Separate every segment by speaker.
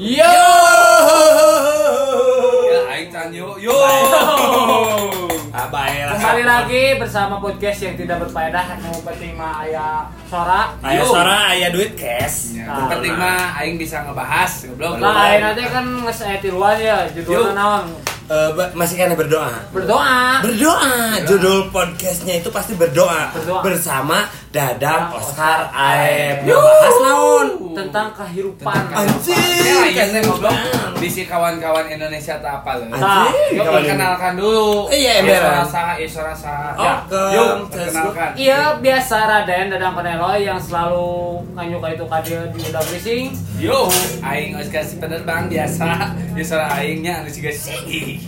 Speaker 1: Yo.
Speaker 2: Ya, aing can yo yo.
Speaker 1: Abai Ah, lah.
Speaker 3: Kembali lagi bersama podcast yang tidak berfaedah Anu penting mah aya sora.
Speaker 1: Aya sora aya duit cash.
Speaker 2: Ya, yang penting mah aing bisa ngebahas goblok.
Speaker 3: Lah ayeuna teh kan geus aya tiluan ya judulna
Speaker 2: Yo.
Speaker 3: naon?
Speaker 1: Eh, ba- masih kan berdoa.
Speaker 3: Berdoa.
Speaker 1: Berdoa, judul podcastnya itu pasti berdoa,
Speaker 3: Berdoa.
Speaker 1: bersama Dadang
Speaker 3: Dadang
Speaker 1: Oscar Aep
Speaker 3: Yuh.
Speaker 1: Bahas laun
Speaker 3: tentang kehidupan.
Speaker 1: Anjing.
Speaker 2: Ya, aing teh goblok. Bisi kawan-kawan Indonesia tak apa leuh.
Speaker 3: Anjing.
Speaker 2: Yuk perkenalkan dulu.
Speaker 1: Iya, emberan.
Speaker 2: Isora Saha, Isora Saha. Ya,
Speaker 1: Oke.
Speaker 2: yuk perkenalkan.
Speaker 3: Iya biasa Raden Dadang Penelo yang selalu nganyuk itu kadir di udah brising.
Speaker 2: Yo, aing geus kasih penerbang biasa. Isora aingnya anu siga sigi.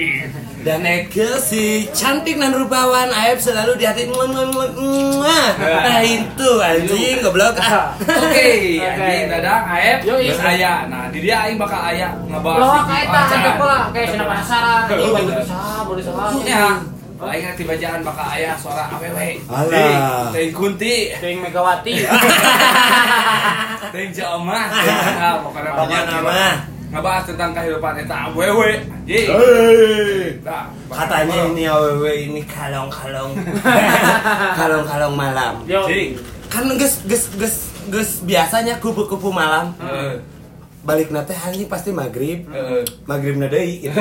Speaker 1: Dan Eke si cantik dan rupawan Aep selalu di hati nguen, nguen, nguen, nguen. Nah itu anjing goblok ah.
Speaker 2: Oke,
Speaker 3: Oke.
Speaker 2: anjing dadang aep
Speaker 3: Yo, iya.
Speaker 2: geus aya. Nah, di dia aing bakal aya ngebahas.
Speaker 3: Loh
Speaker 2: sigi
Speaker 3: kaita
Speaker 2: wawancara.
Speaker 3: handeuk lah kayak Iya, cenah penasaran.
Speaker 2: Betul.
Speaker 3: Ih, baru saha baru saha.
Speaker 2: Ya, lain ngerti bacaan bakal ayah suara awewe.
Speaker 1: Alah.
Speaker 2: Ting, Ting kunti,
Speaker 3: Ting Megawati.
Speaker 2: ting jelema. Nah, pokoknya
Speaker 1: Pokoknya
Speaker 2: banyak
Speaker 1: nama.
Speaker 2: gila. Ngebahas tentang kehidupan eta awewe. Anjing.
Speaker 1: Hei. Eh.
Speaker 2: Nah,
Speaker 1: Katanya ini aww ini kalong-kalong Kalong-kalong malam
Speaker 3: Yo.
Speaker 2: Anjing.
Speaker 1: Kan ges, ges, ges, ges biasanya kupu-kupu malam
Speaker 2: Heeh.
Speaker 1: Balik nate anjing pasti maghrib
Speaker 2: Heeh.
Speaker 1: Maghrib nadei gitu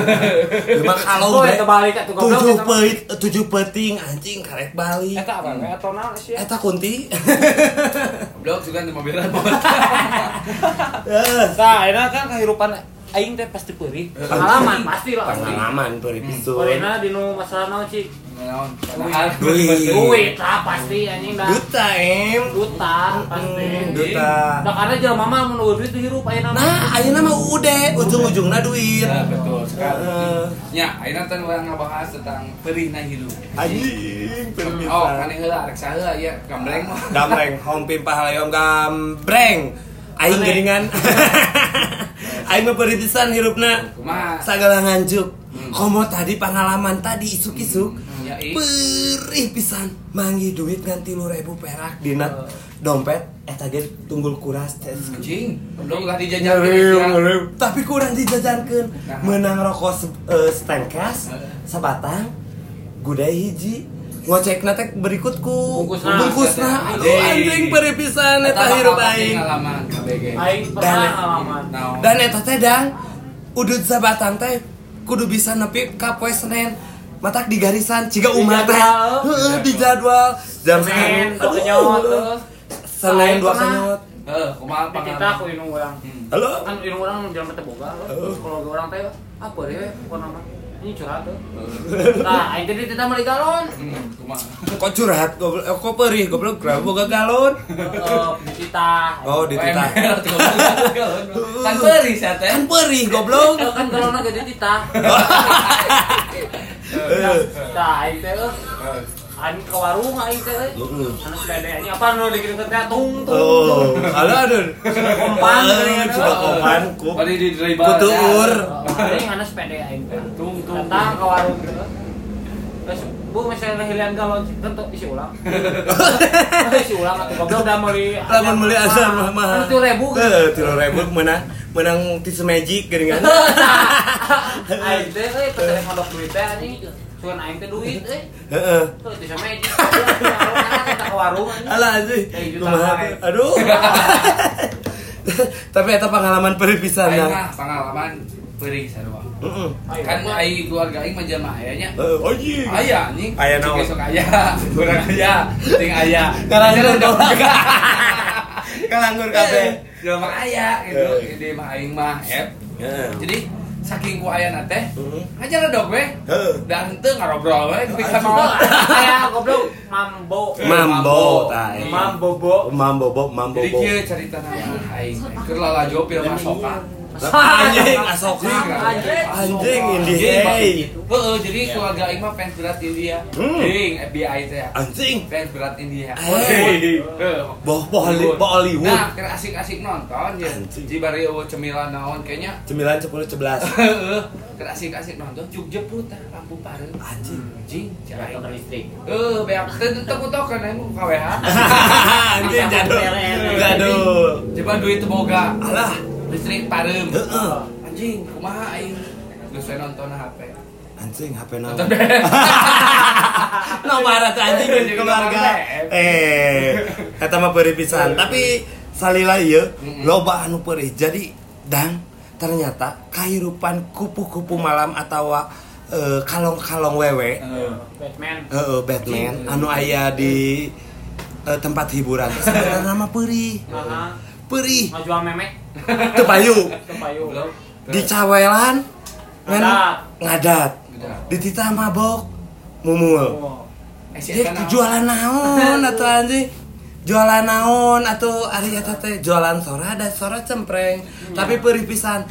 Speaker 1: Cuma kalau
Speaker 3: Oh, itu balik atuh goblok.
Speaker 1: tujuh
Speaker 3: eta.
Speaker 1: peit, tujuh peting anjing karek Bali
Speaker 3: Eta Eh, apa? Eta naon sih? ya?
Speaker 1: Eta kunti
Speaker 2: Blok juga di mobil
Speaker 1: Eh.
Speaker 3: Nah, ini kan kehidupan aing teh pasti perih. Pengalaman pasti lah.
Speaker 1: Pengalaman perih pisun
Speaker 3: Perihna di nu masalah naon sih?
Speaker 2: Naon?
Speaker 1: Wih.
Speaker 3: Duit lah pasti anjing dah.
Speaker 1: Duta em
Speaker 3: Duta pasti.
Speaker 1: Hmm, Duta
Speaker 3: Da karena jelema mah mun eueuh duit dihirup ayeuna. mah.
Speaker 1: Nah, ayeuna mah ude, ujung-ujungna duit. Eh,
Speaker 2: Nah, betul sekali.
Speaker 1: Heeh.
Speaker 2: Ya, akhirnya tadi orang ngebahas tentang perihna hidup.
Speaker 1: Anjing,
Speaker 2: Oh, kan heula arek saheula ya, gambleng mah.
Speaker 1: Gambreng, hong pimpah hayom gambreng. Aing
Speaker 3: Mane.
Speaker 1: geringan. Aing mah perih pisan hirupna.
Speaker 2: Kumaha?
Speaker 1: Sagala nganjuk.
Speaker 2: Hmm.
Speaker 1: Komo tadi pengalaman tadi isuk-isuk.
Speaker 2: Ya, ih.
Speaker 1: Perih pisan manggi duit nganti 3000 perak dina dompet eta ge tunggul kuras tes.
Speaker 2: Anjing, belum lah dijajan
Speaker 1: Ngeriu,
Speaker 2: Indonesia.
Speaker 1: ngeriu. Tapi kurang dijajankan
Speaker 2: Nah.
Speaker 1: Menang rokok se eh, setengkas
Speaker 2: Heeh.
Speaker 1: Sebatang Gudai hiji Ngocek nate berikut ku
Speaker 3: Bungkusna.
Speaker 1: Bungkusna Aduh
Speaker 2: Anjing.
Speaker 1: anjing peripisan Eta
Speaker 2: Eta
Speaker 1: hirup
Speaker 2: bakal
Speaker 1: aing
Speaker 2: pengalaman KBG.
Speaker 3: Aing pernah
Speaker 1: Dan-
Speaker 3: pengalaman.
Speaker 2: Naon?
Speaker 1: Dan eta teh dang Udut sebatang teh Kudu bisa nepi ka poe Senen Matak di garisan Ciga umat teh
Speaker 3: jadwal.
Speaker 1: Heeh, Di jadwal Jam
Speaker 3: Men,
Speaker 1: Aduh.
Speaker 3: kenyot terus.
Speaker 1: Senen
Speaker 3: Aing
Speaker 1: dua
Speaker 3: pernah.
Speaker 1: kenyot
Speaker 2: Heuh, kumaha
Speaker 3: Kita
Speaker 2: pengalaman?
Speaker 3: ku inung urang.
Speaker 2: Hmm.
Speaker 1: Halo
Speaker 3: Kan inung urang jelema teh boga. loh. Kalau urang teh "Ah, apa deh pokona mah. Ini curhat tuh. Nah, aing teh tidak meli galon.
Speaker 2: Hmm, kumaha?
Speaker 1: Kok curhat, goblok, eh, kok perih, goblok, kenapa boga galon?
Speaker 3: Heeh, dititah.
Speaker 1: Oh, dititah.
Speaker 2: WML tuh, galon. Kan beri sia teh.
Speaker 1: Kan perih, goblok.
Speaker 3: kan galonnya gede dititah.
Speaker 1: Eh,
Speaker 3: Nah, aing teh eh, Ani ke warung aing teh euy.
Speaker 1: Heeh.
Speaker 3: Anu sedaya ini apa nu dikirimkeun tung tung. tung.
Speaker 1: Oh, halo aduh. Sudah
Speaker 3: kompan,
Speaker 1: Eh,
Speaker 3: kan?
Speaker 1: sudah kompan, ku.
Speaker 2: Tadi di dribble.
Speaker 1: Kutuur.
Speaker 3: Aing ngana sepeda aing teh.
Speaker 2: Tung, tung.
Speaker 3: Datang ke warung teh. eh. Terus Bu misalnya hilian galon tentu isi ulang. isi ulang atau goblok udah meli.
Speaker 1: Lamun meuli azan mah mah. Eh,
Speaker 3: Itu Ah, rebu.
Speaker 1: Heeh, 3000 meunang menang tisu magic geuningan.
Speaker 3: Aing teh eh, euy pesen mondok duit teh anjing. Cuman aing teh duit euy.
Speaker 1: Heeh.
Speaker 3: Tuh bisa ya, magic. Kita kan, ke warung anjing.
Speaker 1: Alah anjing.
Speaker 3: Kayak jutaan
Speaker 1: Kumaha
Speaker 3: wae.
Speaker 1: tuh? Aduh. Tapi eta pengalaman perih pisan
Speaker 2: Aing
Speaker 1: dah.
Speaker 2: mah pengalaman beri sarua.
Speaker 1: Heeh.
Speaker 3: Ayo,
Speaker 2: Kan
Speaker 3: Bang.
Speaker 2: aing keluarga aing mah jelema ayanya.
Speaker 1: Eh, Anjing.
Speaker 2: Aya anjing.
Speaker 1: Aya oh. naon?
Speaker 2: Besok aya, Ah, kurang aya, ting aya. Eh,
Speaker 1: Kalah
Speaker 2: Jeruk
Speaker 1: jeruk.
Speaker 2: juga.
Speaker 1: Kalanggur kabeh.
Speaker 2: Jelema aya gitu.
Speaker 1: Eh.
Speaker 2: Jadi mah aing mah ep.
Speaker 1: Heeh.
Speaker 2: Jadi saking ku aya na teh,
Speaker 1: Heeh.
Speaker 2: ngajar dok we.
Speaker 1: Heeh.
Speaker 2: Dan teu ngarobrol we
Speaker 3: Bisa
Speaker 2: pisan
Speaker 3: mau
Speaker 2: mah.
Speaker 3: kayak goblok mambo.
Speaker 1: Mambo, tai.
Speaker 3: Mambo bo.
Speaker 1: Mambo bob, mambo
Speaker 2: Jadi
Speaker 1: bob.
Speaker 2: kieu carita nama aing. Keur lalajo pil masoka.
Speaker 1: Anjing, asoka. Anjing, Indi,
Speaker 2: Jadi,
Speaker 1: hey.
Speaker 2: Heeh, jadi keluarga aing mah fans berat India.
Speaker 1: Hmm.
Speaker 2: Ding FBI teh.
Speaker 1: Anjing.
Speaker 2: Fans berat India.
Speaker 1: Hey.
Speaker 2: Heeh.
Speaker 1: Boh, boh, Eh. Holly- boh Hollywood.
Speaker 2: Nah, keur asik-asik nonton ya.
Speaker 1: Anjing.
Speaker 2: Di bari eueuh cemilan naon kayaknya.
Speaker 1: Cemilan 10 11.
Speaker 2: Heeh. Keur asik-asik nonton jug jeput tah lampu pareu.
Speaker 1: Anjing.
Speaker 2: Anjing, cara aing.
Speaker 3: listrik.
Speaker 2: Eh, beak teu teu kutokeun anu KWH.
Speaker 1: Anjing jadul. Jadul.
Speaker 2: Coba duit boga.
Speaker 1: Alah,
Speaker 2: listrik parem Ah,
Speaker 1: Heeh.
Speaker 2: anjing kumaha aing geus we nonton HP
Speaker 1: anjing HP naon
Speaker 2: nonton BM
Speaker 1: no marah tuh anjing dan keluarga eh eta mah peuri pisan tapi salila ieu loba anu peurih jadi dang ternyata kehidupan kupu-kupu malam atau eh, kalong-kalong wewe
Speaker 3: Batman
Speaker 1: Heeh, Batman anu aya di eh, tempat hiburan sebenarnya nama peurih
Speaker 3: Aha.
Speaker 1: peurih
Speaker 3: mau jual memek
Speaker 1: teu payu
Speaker 3: ke payu
Speaker 2: Belum.
Speaker 1: di cawelan ngan-
Speaker 3: Ngadat.
Speaker 1: ngadat di tita mabok mumul
Speaker 3: Oh.
Speaker 2: Eh, si
Speaker 1: dia
Speaker 2: Eta naon?
Speaker 1: jualan naon atau anjing jualan naon atau Arya teh jualan sora ada sora cempreng tapi peripisan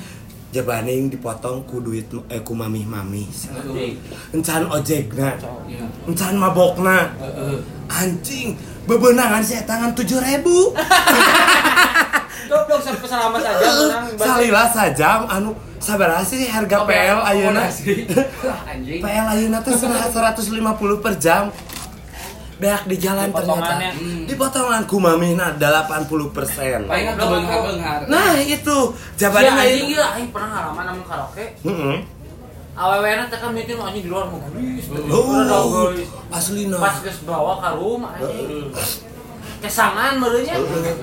Speaker 1: jebaning dipotong ku duit eh ku mamih mami
Speaker 2: Aduh.
Speaker 1: encan ojekna
Speaker 2: Iya.
Speaker 1: encan mabokna
Speaker 2: Heeh.
Speaker 1: anjing bebenangan sih tangan tujuh ribu
Speaker 3: Goblok sampai selamat aja menang
Speaker 1: salila sajam anu sabar sih harga PL ayeuna
Speaker 2: Akomodasi. Wah, anjing
Speaker 1: PL ayeuna teh senar- 150 per jam beak di jalan
Speaker 3: Di
Speaker 1: ternyata
Speaker 3: potongannya.
Speaker 1: Hmm. di nah, potongan kumamina 80
Speaker 2: paling
Speaker 1: persen
Speaker 2: nggak benghar-benghar
Speaker 1: nah itu
Speaker 3: Jadi
Speaker 1: jabadan
Speaker 3: anjing
Speaker 1: ayeuna
Speaker 3: ya, anjing pernah ngalaman namun karaoke.
Speaker 1: Heeh.
Speaker 3: Awewe nanti kan meeting anjing di luar mau gulis. Udah dong
Speaker 1: Oh,
Speaker 3: gulis.
Speaker 1: asli nah.
Speaker 3: iya. Pas geus bawa ke rumah anjing. Kesangan merenya.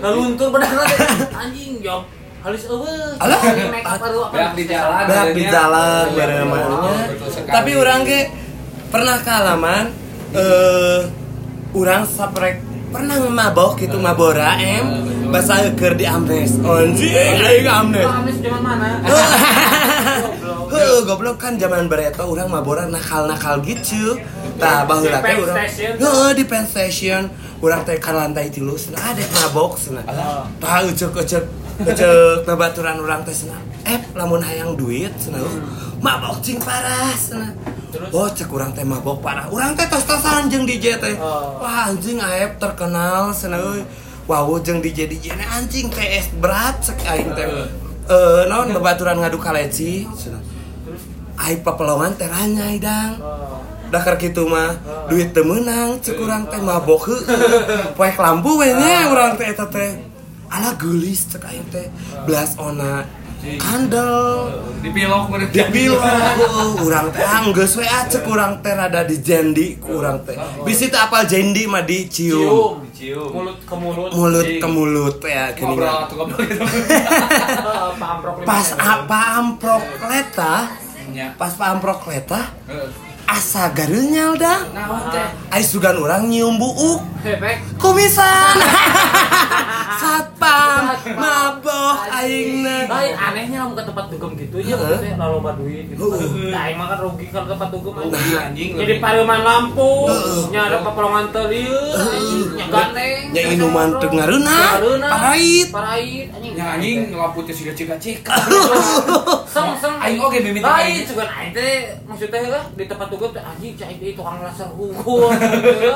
Speaker 3: Ngeluntur bedak teh. anjing jog. Halus eueuh.
Speaker 1: Alah.
Speaker 3: Anjing make up baru
Speaker 2: Beak di jalan.
Speaker 1: Beak di jalan
Speaker 2: Iya,
Speaker 1: bareng
Speaker 2: iya,
Speaker 1: mamanya.
Speaker 2: betul sekali.
Speaker 1: Tapi orang ge pernah kealaman eh orang saprek pernah mabok gitu mabora em bahasa keur di amnes. Anjing, aing amnes.
Speaker 3: Kamis zaman mana? Goblok.
Speaker 1: Heuh, goblok kan zaman bereto orang mabora nakal-nakal gitu. Tah baheula teh
Speaker 3: Di
Speaker 1: urang.
Speaker 3: Penn Station.
Speaker 1: Heuh, di Penn Station urang teh ka lantai 3 cenah ada mabok cenah. Tah ecek-ecek ecek nabaturan urang teh cenah. Eh, lamun hayang duit cenah. uh, Mabok cing parah cenah.
Speaker 3: Hmm. Terus?
Speaker 1: Oh, cek urang teh mabok parah. Urang teh tos-tosan jeung DJ teh.
Speaker 3: Oh. Hmm.
Speaker 1: Wah, anjing aep terkenal cenah. euy. Wow, jeung DJ DJ -na anjing TS berat cek aing teh.
Speaker 3: Hmm.
Speaker 1: Eh, naon babaturan ngadu kaleci cenah.
Speaker 3: Terus
Speaker 1: Aing papelongan teh ranyai dang.
Speaker 3: eh,
Speaker 1: Dah keur kitu mah duit teu meunang, ceuk urang teh mabok heueuh. Poek lampu we nya urang teh eta teh. Ala geulis cek aing teh. Belas ona kandel
Speaker 2: dipilok murid
Speaker 1: dibilang urang teh anggeus we ah, cek urang teh rada di jendi ku urang teh. Bisi teh apal jendi mah dicium.
Speaker 3: cium.
Speaker 2: Cium.
Speaker 3: Mulut ke mulut.
Speaker 1: Mulut ke mulut ya gini.
Speaker 2: ngobrol atau ngobrol gitu
Speaker 3: Eh, Pak Amprok lima
Speaker 1: Pas
Speaker 3: cm.
Speaker 1: apa amprok leta,
Speaker 2: nya
Speaker 1: pas pa amprok leta
Speaker 2: Heeh.
Speaker 1: asa gareulnya udah.
Speaker 2: naon teh
Speaker 1: Ai sugan orang nyium buuk
Speaker 3: Bebek.
Speaker 1: kumisan satpam mabok aingna
Speaker 3: Lain anehnya mau ke tempat dugem gitu
Speaker 1: Heeh.
Speaker 3: ya, maksudnya loba duit gitu.
Speaker 1: Heeh.
Speaker 3: Nah, emang kan rugi kalau ke tempat dugem
Speaker 2: Rugi,
Speaker 3: aja.
Speaker 2: anjing,
Speaker 3: Jadi
Speaker 2: rugi.
Speaker 3: paruman lampu,
Speaker 1: Heeh.
Speaker 3: nyari eh, peperluan teriuk, gandeng.
Speaker 1: nya minuman teu ngareuna parait
Speaker 3: Parait, anjing.
Speaker 2: nya anjing ngelapu teh siga cika cika
Speaker 3: Seng, seng.
Speaker 2: Aing oge mimiti
Speaker 3: Lain,
Speaker 2: aing.
Speaker 3: juga aing teh, maksudnya lah, di tempat dugem teh anjing, cai di tukang laser hukum.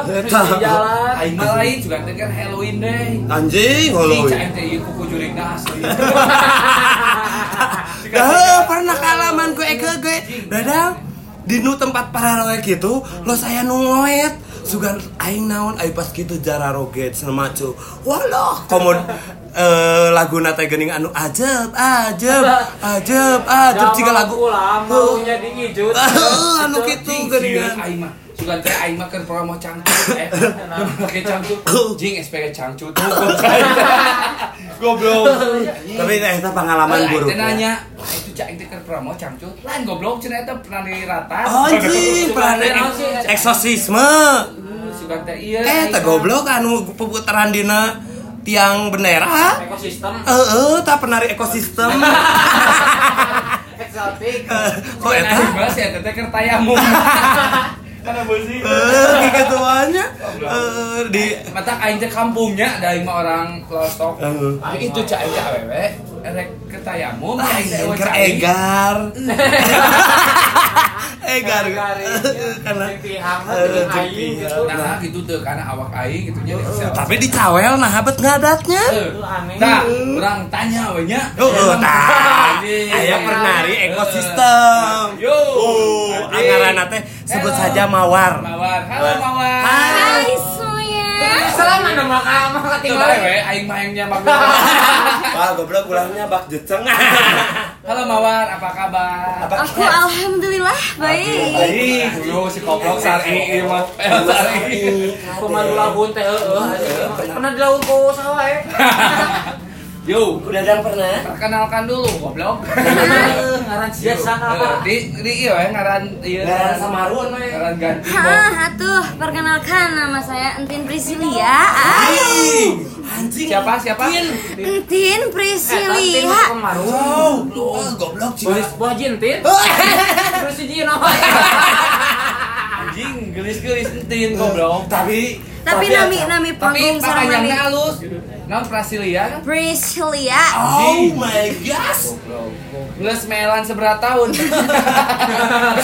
Speaker 1: Eta.
Speaker 3: Di jalan.
Speaker 2: aing mah lain juga teh kan Halloween deh
Speaker 1: anjing
Speaker 2: Si
Speaker 1: holoy
Speaker 2: cain teh ieu kuku jurigna asli
Speaker 1: dah pernah kealaman gue eke gue dadang di nu tempat pararoe gitu lo saya nu ngoet sugan aing naon aing pas gitu jara roget senemacu waloh komod eh lagu nate gening anu ajeb ajeb ajeb ajeb jika lagu
Speaker 3: lama jadi hijau.
Speaker 1: Ah, anu kitu geuningan.
Speaker 2: Aing mah Sugan teh aing mah keur promo cangcut eh. Pake cangcut. Jing SPG cangcut. Goblok.
Speaker 1: tapi eta pengalaman
Speaker 2: Aing
Speaker 1: buruk
Speaker 2: teh nanya, "Ah, itu cak teh keur promo cangcut. Lain goblok cenah eta pernah di rata.
Speaker 1: Anjing, peranan eksosisme.
Speaker 2: Sugan teh ieu.
Speaker 1: Eh, tak goblok anu peputaran dina tiang bendera.
Speaker 3: Ekosistem
Speaker 1: Heeh, tak penari ekosistem.
Speaker 3: eksotik.
Speaker 1: Eh, Kok
Speaker 2: Kok eta?
Speaker 1: eta?
Speaker 2: Bahas ya teh keur tayamum. Kana beusi.
Speaker 1: Eh, keketuaannya eh di
Speaker 2: Mata aing teh kampungnya ada lima orang lostok.
Speaker 1: Heeh.
Speaker 2: Ah, itu cak aing teh awewe erek ke tayamum
Speaker 1: Ah,
Speaker 2: aing teh ewe
Speaker 1: Egar,
Speaker 2: cai.
Speaker 1: Egar. Egar.
Speaker 3: iya.
Speaker 1: Karena Eh, jeung
Speaker 3: aing gitu.
Speaker 1: pihang.
Speaker 2: Nah, gitu tuh karena awak aing gitu nya.
Speaker 1: tapi di cawel nah habet ngadatnya.
Speaker 2: Eh,
Speaker 3: Lu aneh.
Speaker 2: Nah, orang tanya we nya.
Speaker 1: Heeh, tah.
Speaker 2: Anjing.
Speaker 1: Aya penari ekosistem.
Speaker 2: Yo.
Speaker 1: Oh,
Speaker 2: anjing.
Speaker 1: anggaran teh sebut saja mawar.
Speaker 2: Mawar. Halo Mawar.
Speaker 1: Hai.
Speaker 4: semuanya.
Speaker 3: Salah ada makam
Speaker 2: Coba ya,
Speaker 3: ketinggalan.
Speaker 2: we, aing maengnya mah.
Speaker 1: Wah, goblok ulangnya bak jeceng.
Speaker 2: Halo Mawar, apa kabar?
Speaker 1: Apa?
Speaker 4: Aku alhamdulillah baik.
Speaker 1: Ih,
Speaker 2: Dulu si koplok sari mah. Eh, sari.
Speaker 3: Pemandu lagun teh heeh. Pernah di laut ku salah ya.
Speaker 2: Yo,
Speaker 1: Udah dan pernah?
Speaker 2: perkenalkan dulu goblok.
Speaker 3: Ngaran sia sana apa?
Speaker 2: Di di ieu we ngaran ieu.
Speaker 1: Nah, samaruan we.
Speaker 2: Ngaran ganti.
Speaker 4: Hah, atuh perkenalkan nama saya Entin Priscilia. Ah,
Speaker 1: Ih, Anjing.
Speaker 2: Siapa siapa?
Speaker 4: Entin
Speaker 3: Tantin
Speaker 4: Priscilia.
Speaker 3: kemarin.
Speaker 1: Wow, oh, goblok Cina.
Speaker 3: Boris Boh Jintin.
Speaker 1: Oh.
Speaker 3: Terus si oh. Jino.
Speaker 2: Anjing, gelis-gelis entin goblok.
Speaker 1: Tapi
Speaker 4: Tapi nami nami
Speaker 2: Tapi
Speaker 4: panggung sama
Speaker 2: pakaiannya
Speaker 4: nami
Speaker 2: halus. Naon Brasilia kan?
Speaker 4: Priscilia.
Speaker 1: Oh my gosh.
Speaker 2: Goblok. Geus melan seberat tahun.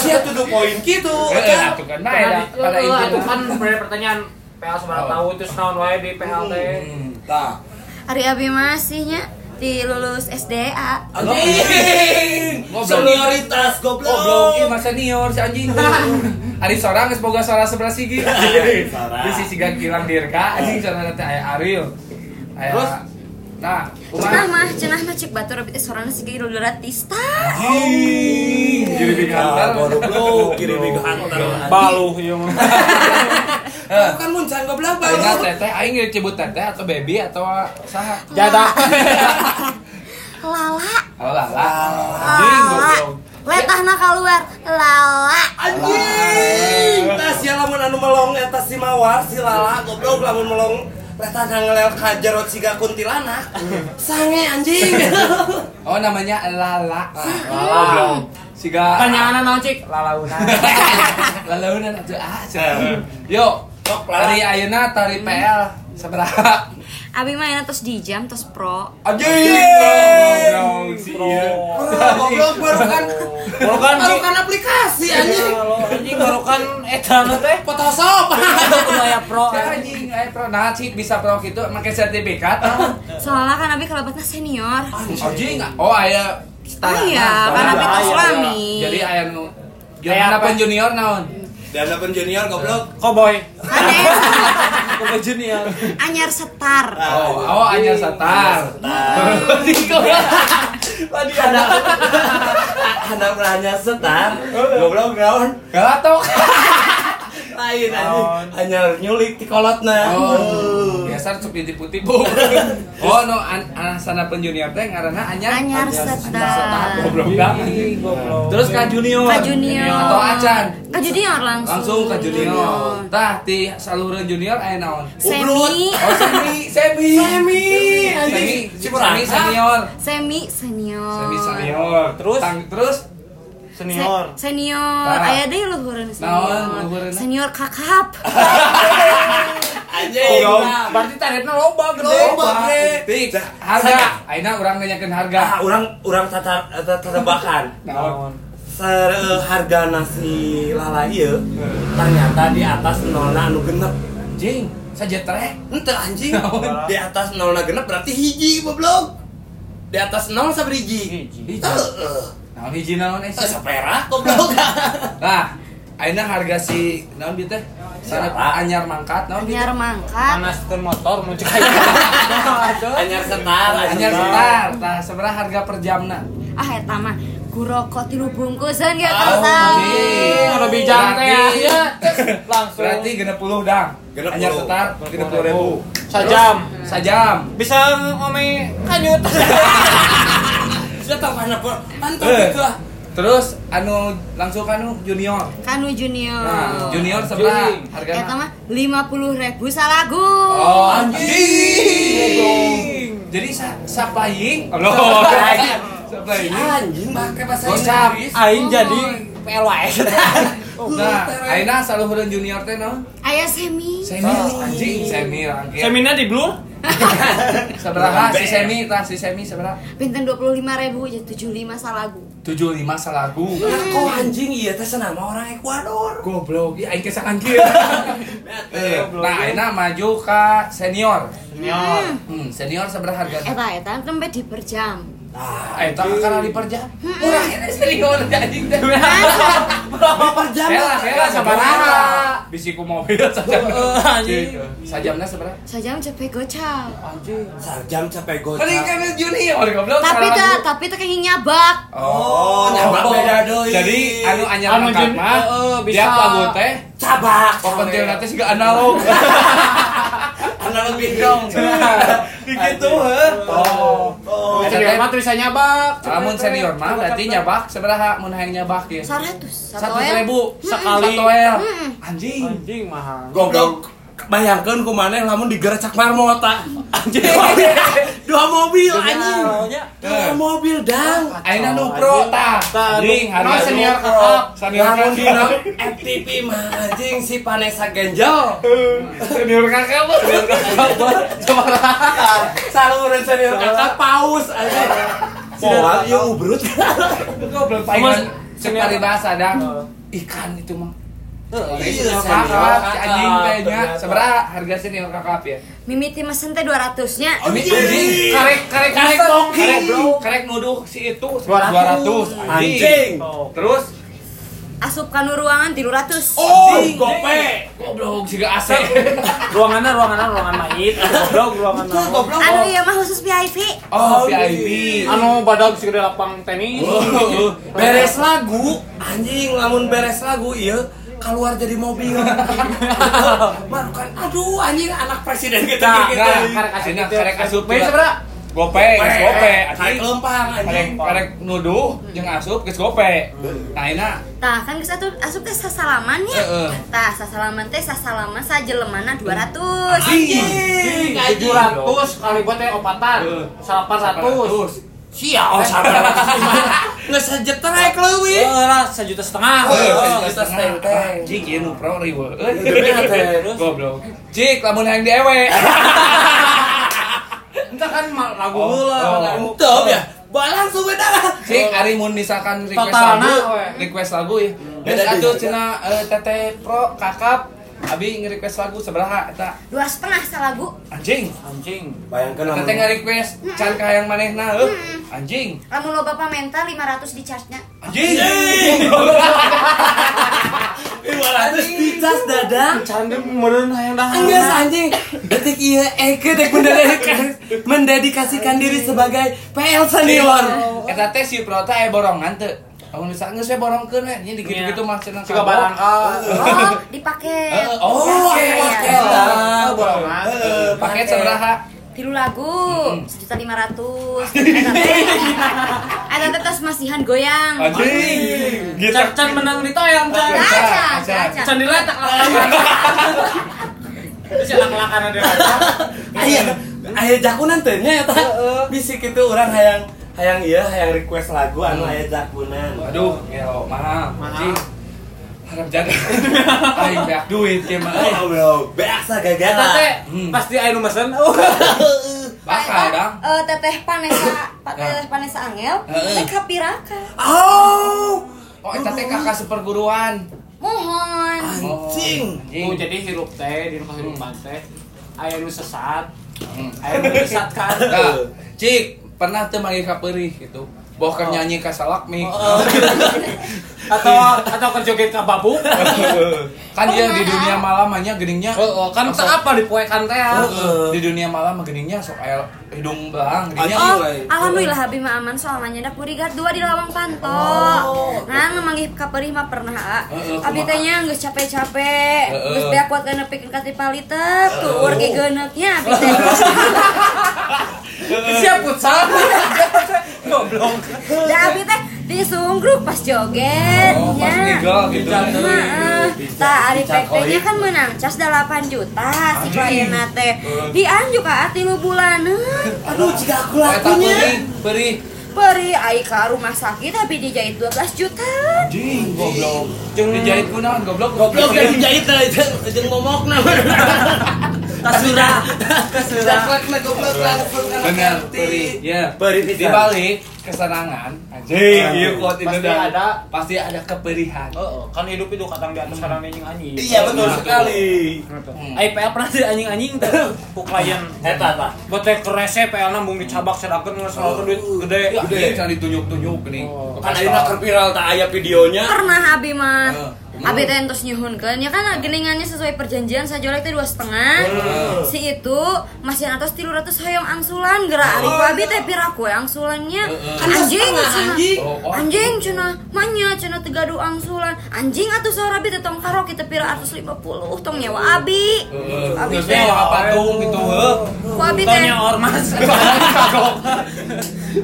Speaker 1: Sia tuh do poin gitu.
Speaker 2: Eh, atuh kan bae dah. Pada
Speaker 3: Itu
Speaker 2: itu
Speaker 3: itu kan sebenarnya pertanyaan PL sebarang
Speaker 2: Oh.
Speaker 3: tahu itu naon wae di PL
Speaker 1: Hmm.
Speaker 3: teh.
Speaker 1: Tah.
Speaker 4: Ari Abi masihnya di lulus SDA.
Speaker 1: Oh. Anjing.
Speaker 2: Goblok.
Speaker 1: Senioritas goblok.
Speaker 2: Goblok, ieu mah senior iya, si anjing. Ari sorang geus boga suara sebelah sigi. Iya,
Speaker 1: Sorang.
Speaker 2: Di sisi gang kilang dirga anjing sorang teh aya Ariel. Aya
Speaker 3: Terus?
Speaker 2: Nah, kumaha?
Speaker 4: Cenah mah, cenah mah cek batu rapi sorana sih gila ratista.
Speaker 1: Oh. Anjing.
Speaker 2: Kiri
Speaker 1: Ah,
Speaker 2: hantar.
Speaker 1: goblok. Kiri big hunter.
Speaker 2: Baluh ieu mah.
Speaker 1: Eh, Bukan muncan goblok
Speaker 2: Ingat
Speaker 1: banget.
Speaker 2: teteh aing geus cebut teteh atau baby atau saha?
Speaker 4: Jadah. Lala,
Speaker 2: Oh lala. Anjing
Speaker 4: lala.
Speaker 2: goblok.
Speaker 4: Letahna keluar, lala.
Speaker 1: Anjing. Tah sia lamun anu melong eta si Mawar si Lala goblok lamun melong Reta ngelel ka jero ciga kuntilanak Sange anjing
Speaker 2: Oh namanya lala.
Speaker 4: Lala.
Speaker 2: Goblok. Siga Nah,
Speaker 3: Pertanyaanna naon cik? Lalaunan.
Speaker 2: Lalaunan atuh ah. cenah. Yo,
Speaker 1: Sok, Lala.
Speaker 2: tari ayeuna tari PL seberapa?
Speaker 4: Abi main atas di jam, atas pro.
Speaker 2: Anjing. Goblok si iya. ieu.
Speaker 1: Oh, Goblok baru kan
Speaker 3: Bukan
Speaker 1: baru kan aplikasi anjing
Speaker 3: anjing barukan eta nu teh.
Speaker 1: Photoshop
Speaker 3: Kudu aya pro.
Speaker 2: Cek anjing, ayo pro. Nah, cik bisa pro gitu, make sertifikat.
Speaker 4: Soalnya kan Abi kelebatnya senior.
Speaker 2: Anjing, oh ayo setara.
Speaker 4: Iya,
Speaker 2: Nah, setara.
Speaker 4: karena
Speaker 3: beda
Speaker 4: suami.
Speaker 2: Jadi ayo nu
Speaker 3: Kayak
Speaker 2: Gimana
Speaker 3: apa?
Speaker 2: pun junior naon?
Speaker 1: Dan apa junior goblok
Speaker 3: Koboy.
Speaker 4: Ada
Speaker 3: Koboy junior.
Speaker 4: Kan anyar setar.
Speaker 2: Oh, oh aja setar.
Speaker 1: Tadi ada ada beranya setar goblok gaun
Speaker 2: Gatok.
Speaker 1: lain anjing hanya nyulik di kolotna
Speaker 2: Oh, biasa cuk ditipu-tipu. Oh, no an sana pun junior teh ngaranna anyar.
Speaker 4: Anyar setar.
Speaker 2: Goblok dah. Terus ka junior.
Speaker 4: Ka junior.
Speaker 2: Atau acan.
Speaker 4: Ka junior langsung.
Speaker 2: Langsung ka junior. Oh, Tah di saluran junior aya naon?
Speaker 4: Semi,
Speaker 2: Oh, semi, semi. Semi, semi, semi senior.
Speaker 4: semi senior.
Speaker 2: Semi senior. Terus Tang- terus
Speaker 4: senior. senior.
Speaker 2: Tara.
Speaker 4: Aya deh
Speaker 2: Nah,
Speaker 4: luhureun
Speaker 2: oh, Naon
Speaker 4: senior.
Speaker 2: luhureunna?
Speaker 4: Senior kakap.
Speaker 1: anjing
Speaker 2: berarti tarifnya loba gede.
Speaker 1: Loba, gede.
Speaker 2: Tik,
Speaker 1: Dah,
Speaker 2: harga.
Speaker 1: saya-
Speaker 2: Aina urang nanyakeun harga.
Speaker 1: ah orang orang tatar tatabakan
Speaker 2: Naon?
Speaker 1: Ser, eh, harga nasi lala ieu ternyata di atas nolna anu genep
Speaker 2: Jing, saja trek.
Speaker 1: Ente anjing di atas nolna genep berarti hiji goblok di atas nol sabriji
Speaker 2: Hiji.
Speaker 1: Heeh.
Speaker 2: Naon hiji naon eh?
Speaker 1: Eh, sepera goblok
Speaker 2: Nah, Aina harga si naon bieu teh? Sana
Speaker 1: Siapa?
Speaker 2: anyar mangkat naon bieu? teh?
Speaker 4: Anyar mangkat.
Speaker 3: Panas teu motor mun cek aja.
Speaker 1: hanya setar
Speaker 2: Anyar setar. Tah seberapa harga per jamna?
Speaker 4: Ah eta mah guroko tilu bungkusan ge
Speaker 1: Ah,
Speaker 4: tasawih.
Speaker 3: Ada bijang teh ya.
Speaker 2: Berarti-
Speaker 3: Ya, tes, langsung.
Speaker 2: Berarti genep puluh dang.
Speaker 1: 60.
Speaker 2: Anyar setar genep puluh ribu.
Speaker 3: Sajam.
Speaker 2: Sajam.
Speaker 3: Bisa ngomongin kanyut.
Speaker 1: sudah tahu mana pun mantap
Speaker 2: Eh,
Speaker 1: gitu ah
Speaker 2: Terus anu langsung kanu junior.
Speaker 4: Kanu junior.
Speaker 2: Nah, junior sebelah
Speaker 3: Junior.
Speaker 4: Oh. Eta
Speaker 2: harganya.
Speaker 4: mah 50.000 salagu.
Speaker 2: Oh,
Speaker 1: anjing.
Speaker 2: anjing. Jadi sa supplying. Loh.
Speaker 1: Si
Speaker 2: Supplying.
Speaker 1: anjing pakai bahasa
Speaker 2: Gocap.
Speaker 1: Inggris
Speaker 3: Aing jadi PLY.
Speaker 2: Nah, ayeuna saluhureun junior teh naon?
Speaker 4: Aya semi.
Speaker 2: Semi
Speaker 1: Oh,
Speaker 2: anjing, semi rangkir.
Speaker 3: Semina di blur?
Speaker 2: Seberapa si semi tah si semi seberapa?
Speaker 4: Pinten 25.000 jadi 75 salagu.
Speaker 2: 75 salagu.
Speaker 1: Nah, kok anjing iya teh senama orang Ekuador
Speaker 2: Goblok, ieu aing kesangan kieu. Eh, Nah, ayeuna maju ka senior.
Speaker 3: Senior.
Speaker 4: Eh,
Speaker 2: Hmm, senior seberapa harganya?
Speaker 4: Eta eta tempe ya, di per jam.
Speaker 1: Nah,
Speaker 2: Eh, tak karena di per jam. Murah ya, ini serius anjing teh.
Speaker 1: Per jam
Speaker 2: Sela, sela sabaraha. Bisi ku mobil Gitu. sajam.
Speaker 3: Heeh, anjing.
Speaker 2: Sajamna sabaraha?
Speaker 4: Sajam capek gocap.
Speaker 2: Anjing.
Speaker 1: Sajam capek gocap.
Speaker 2: Tadi kan junior goblok.
Speaker 4: Tapi
Speaker 2: salah
Speaker 4: tak,
Speaker 2: gua.
Speaker 4: tapi tak kayak nyabak.
Speaker 1: Oh, nyabak beda deui.
Speaker 2: Jadi anu anyar
Speaker 3: Anu
Speaker 2: angkat
Speaker 3: jen-
Speaker 2: mah
Speaker 3: heeh, Eh, bisa.
Speaker 2: tiap lagu teh
Speaker 1: Cabak.
Speaker 2: Pepentil nanti sih gak analog
Speaker 1: Analog dong.
Speaker 2: Gitu heh Oh
Speaker 1: Oh.
Speaker 2: Eta
Speaker 3: Senior
Speaker 2: teh-
Speaker 3: mah tulisan nyabak.
Speaker 2: Lamun senior mah berarti nyabak seberapa mun hayang nyabak ya?
Speaker 4: Seratus.
Speaker 2: Satu
Speaker 4: el.
Speaker 2: ribu
Speaker 3: Sekali.
Speaker 2: Satu el
Speaker 4: Mm-mm.
Speaker 2: Anjing
Speaker 3: Anjing mahal.
Speaker 1: Goblok. Bayangkan ku maneh lamun digerecek marmota. Anjing. Dua mobil anjing. Dua mobil dang.
Speaker 2: Aina nu pro ta.
Speaker 3: Ta, nu-
Speaker 2: Anjing,
Speaker 3: no
Speaker 2: harga
Speaker 3: senior
Speaker 2: nu pro.
Speaker 3: kakak.
Speaker 2: Senior
Speaker 1: Lamun
Speaker 2: kakak.
Speaker 1: dina FTP mah anjing si Vanessa Genjel.
Speaker 2: Senior kakak mah.
Speaker 1: Saluran senior kakak paus anjing. Moal ieu ubrut.
Speaker 2: Goblok
Speaker 3: Mas,
Speaker 2: paingan.
Speaker 3: senior-
Speaker 2: Sekali bahasa dang.
Speaker 3: Heeh.
Speaker 2: Ikan itu mah.
Speaker 1: Iya,
Speaker 2: Senior
Speaker 1: senior
Speaker 2: kakak,
Speaker 1: kakak.
Speaker 2: anjing kayaknya. Seberapa harga senior kakak ya?
Speaker 4: Mimiti mesen teh dua ratusnya.
Speaker 1: Oh,
Speaker 2: Ini
Speaker 1: iya.
Speaker 2: anjing karek karek karek
Speaker 1: Kasoki.
Speaker 2: karek bro, karek nuduh si itu
Speaker 3: 200.
Speaker 2: 200 anjing.
Speaker 1: Anjing.
Speaker 2: Terus
Speaker 4: Asupkan ruangan tilu ratus.
Speaker 1: Oh,
Speaker 2: anjing.
Speaker 1: gope.
Speaker 2: goblok siga AC.
Speaker 3: Ruangannya ruangannya ruangan mait. Goblok ruangan.
Speaker 1: Itu goblok.
Speaker 4: Anu iya mah khusus VIP.
Speaker 1: Oh,
Speaker 2: Oh, VIP.
Speaker 1: iya.
Speaker 3: Anu badag sih gede lapang tenis.
Speaker 1: beres lagu anjing lamun beres lagu iya keluar jadi mobil marukan aduh anjing anak presiden kita
Speaker 3: Nah,
Speaker 1: gitu
Speaker 2: Nah,
Speaker 3: karek asup
Speaker 2: akhirnya
Speaker 3: gitu.
Speaker 2: karek asup
Speaker 3: Baik,
Speaker 2: juga.
Speaker 3: seberapa?
Speaker 2: Gope, geus gope,
Speaker 1: kayak
Speaker 2: anjing.
Speaker 1: kelempang anjing
Speaker 2: Karek karek nuduh jeung asup geus gope. Nah, ini
Speaker 4: Tah kan geus atuh asup teh sasalaman ya.
Speaker 2: Heeh.
Speaker 4: Tah sasalaman teh sasalaman sajelemana dua ratus.
Speaker 1: anjing
Speaker 3: Tujuh
Speaker 1: anjing
Speaker 3: ratus kali buat teh opatan. Salapan ratus. Siap.
Speaker 1: oh sabar nggak sejeter aja lewi
Speaker 3: Orang Oh, sejuta setengah.
Speaker 1: kita setengah.
Speaker 2: Jik, ya nu pro riwe.
Speaker 1: Bener, terus.
Speaker 2: Goblok. Jik, lamun yang dewe.
Speaker 3: Entah kan mal- lagu
Speaker 2: Oh,
Speaker 3: heula,
Speaker 2: oh.
Speaker 3: lagu.
Speaker 1: entah ya balang sumber darah
Speaker 2: Cik, ari mun misalkan request
Speaker 3: Totalna,
Speaker 2: lagu,
Speaker 3: we.
Speaker 2: request lagu ya. Geus
Speaker 1: Beda
Speaker 2: atuh
Speaker 1: deui.
Speaker 2: cenah eh, teteh pro kakap abi nge-request lagu sebelah eta
Speaker 4: Dua setengah salagu.
Speaker 2: anjing.
Speaker 3: Anjing.
Speaker 1: bayangkan
Speaker 2: Teteh nge-request can ka yang manehna heuh. Anjing.
Speaker 4: Lamun loba pamenta lima ratus di charge-nya.
Speaker 2: Anjing.
Speaker 1: terus dicas dadang
Speaker 3: Canda meureun hayang dah.
Speaker 1: Enggak anjing, detik iya Eke dek mendedik- mendedikasikan diri sebagai PL senior.
Speaker 2: Eta teh si pro teh aya borongan teu. Lamun misalkan geus we borongkeun we, nya dikitu-kitu mah cenah
Speaker 3: Siga
Speaker 2: kabok.
Speaker 3: barangka.
Speaker 4: Oh, dipake.
Speaker 2: Heeh,
Speaker 1: Oh,
Speaker 2: oke,
Speaker 1: paket,
Speaker 2: oke.
Speaker 1: paket.
Speaker 3: Oh, borongan.
Speaker 1: Eh,
Speaker 2: Paket sebelah.
Speaker 4: Tilu lagu, sejuta lima ratus. Ada tetes masihan goyang.
Speaker 2: Anjing.
Speaker 3: Can can menang di toyang can.
Speaker 2: Ah.
Speaker 4: Aja,
Speaker 2: Aca, aca.
Speaker 4: aja.
Speaker 3: Can diletak lawan. Terus elak-elakan ada.
Speaker 1: Ayah, ayah Iya. jakunan teh nya eta. Bisik itu orang hayang hayang iya hayang request lagu anu aya jakunan.
Speaker 2: Waduh, gelo, ya, mahal.
Speaker 3: Mahal.
Speaker 2: Anjing. Harap jaga. Aing banyak duit kieu mah. eh.
Speaker 1: Oh, biasa
Speaker 3: Eta teh
Speaker 1: gagala.
Speaker 2: Hmm.
Speaker 3: pasti aya nu mesen.
Speaker 2: Bakal dong.
Speaker 4: Eh, teteh Panesa, Pak Teteh Panesa Angel,
Speaker 2: Heeh.
Speaker 4: teh kapiraka.
Speaker 1: Oh,
Speaker 2: Oh, eta teh kakak seperguruan.
Speaker 4: Mohon.
Speaker 1: anjing.
Speaker 2: Anjing.
Speaker 3: Oh, jadi Hmm. hirup teh di rumah hirup teh aya nu sesat,
Speaker 2: Hmm.
Speaker 3: aya nu disesatkan.
Speaker 2: Nah, Cik, pernah teu manggil ka peurih gitu. Boh keur nyanyi ka salakmi.
Speaker 3: Atau atau kerjoget ka babu.
Speaker 2: Kan dia di
Speaker 4: Pernah.
Speaker 2: dunia malam hanya geningnya.
Speaker 3: Heeh, kan Oh, teu apa dipoekan teh. ya?
Speaker 1: Heeh.
Speaker 2: Di dunia malam mah geningnya sok aya hidung belang
Speaker 1: Anjing.
Speaker 2: geningnya.
Speaker 4: Oh,
Speaker 1: Anyway.
Speaker 4: alhamdulillah Abi mah aman soalnya dapur rigat dua di Lawang Panto.
Speaker 2: Oh.
Speaker 4: Nah, memanggih kaperih mah pernah. A.
Speaker 2: Heeh,
Speaker 4: Abi
Speaker 2: kumaha.
Speaker 4: teh nya geus capek-capek,
Speaker 2: Heeh.
Speaker 4: geus beak kuat kana pikeun ka paliter,
Speaker 2: Eh, oh.
Speaker 4: tuur ge geneuknya Abi teh.
Speaker 3: Siap futsal. Goblok.
Speaker 4: Da Abi teh disungkruk pas joget eh,
Speaker 2: Oh, pas
Speaker 4: nya.
Speaker 2: legal gitu.
Speaker 4: Heeh. Tah ari
Speaker 1: Dicak
Speaker 4: PT-nya
Speaker 1: oi.
Speaker 4: kan menang cas 8 juta si
Speaker 2: Anjing.
Speaker 4: klienna
Speaker 2: Eh.
Speaker 4: teh. Dianjuk ka tilu bulanan.
Speaker 1: Aduh, jika aku
Speaker 2: Eta peurih,
Speaker 1: lakunya.
Speaker 2: peurih.
Speaker 4: Beri ai ka rumah sakit tapi dijahit 12 juta.
Speaker 2: Anjing, goblok. Jeung dijahit kunaon goblok.
Speaker 1: Goblok yang dijahit teh jeung momokna. Kasura.
Speaker 3: Kasura.
Speaker 2: Benar, Peri. Ya.
Speaker 1: Peri
Speaker 2: Di
Speaker 1: pisan.
Speaker 2: balik kesenangan, anjing, iya kuat itu
Speaker 3: Pasti
Speaker 2: dah.
Speaker 3: ada.
Speaker 2: Pasti ada keperihan.
Speaker 3: Oh, kan hidup itu katang di atas sarang anjing anjing. Nah.
Speaker 1: Iya betul sekali.
Speaker 2: Hmm.
Speaker 3: Ai PL pernah sih anjing-anjing teh ku klien
Speaker 1: Eta tah.
Speaker 3: botek kerese PL nambung dicabak sedakeun ngasalakeun duit gede.
Speaker 2: Udah ya, jangan ditunjuk-tunjuk nih.
Speaker 3: Oh.
Speaker 1: Kan ayeuna keur viral tah aya videonya.
Speaker 4: pernah abi mah
Speaker 2: Heeh.
Speaker 4: abi teh terus nyuhunkeun ya kan geningannya sesuai perjanjian saya jolek teh dua setengah
Speaker 2: Oh.
Speaker 4: si itu masih atas tilu ratus hoyong angsulan
Speaker 2: Oh,
Speaker 4: gerak ari ku abi
Speaker 2: iya.
Speaker 4: teh piraku angsulannya anjing cenah.
Speaker 1: anjing.
Speaker 2: Oh, oh.
Speaker 4: anjing cenah manya cenah tegadu angsulan anjing atuh saur abi teh tong karo kita pira 150 tong
Speaker 2: Oh.
Speaker 4: nyawa abi abi
Speaker 2: Terus
Speaker 4: teh
Speaker 2: yang apa tuh gitu, heuh.
Speaker 4: ku abi teh
Speaker 3: Tanya ormas. Eh,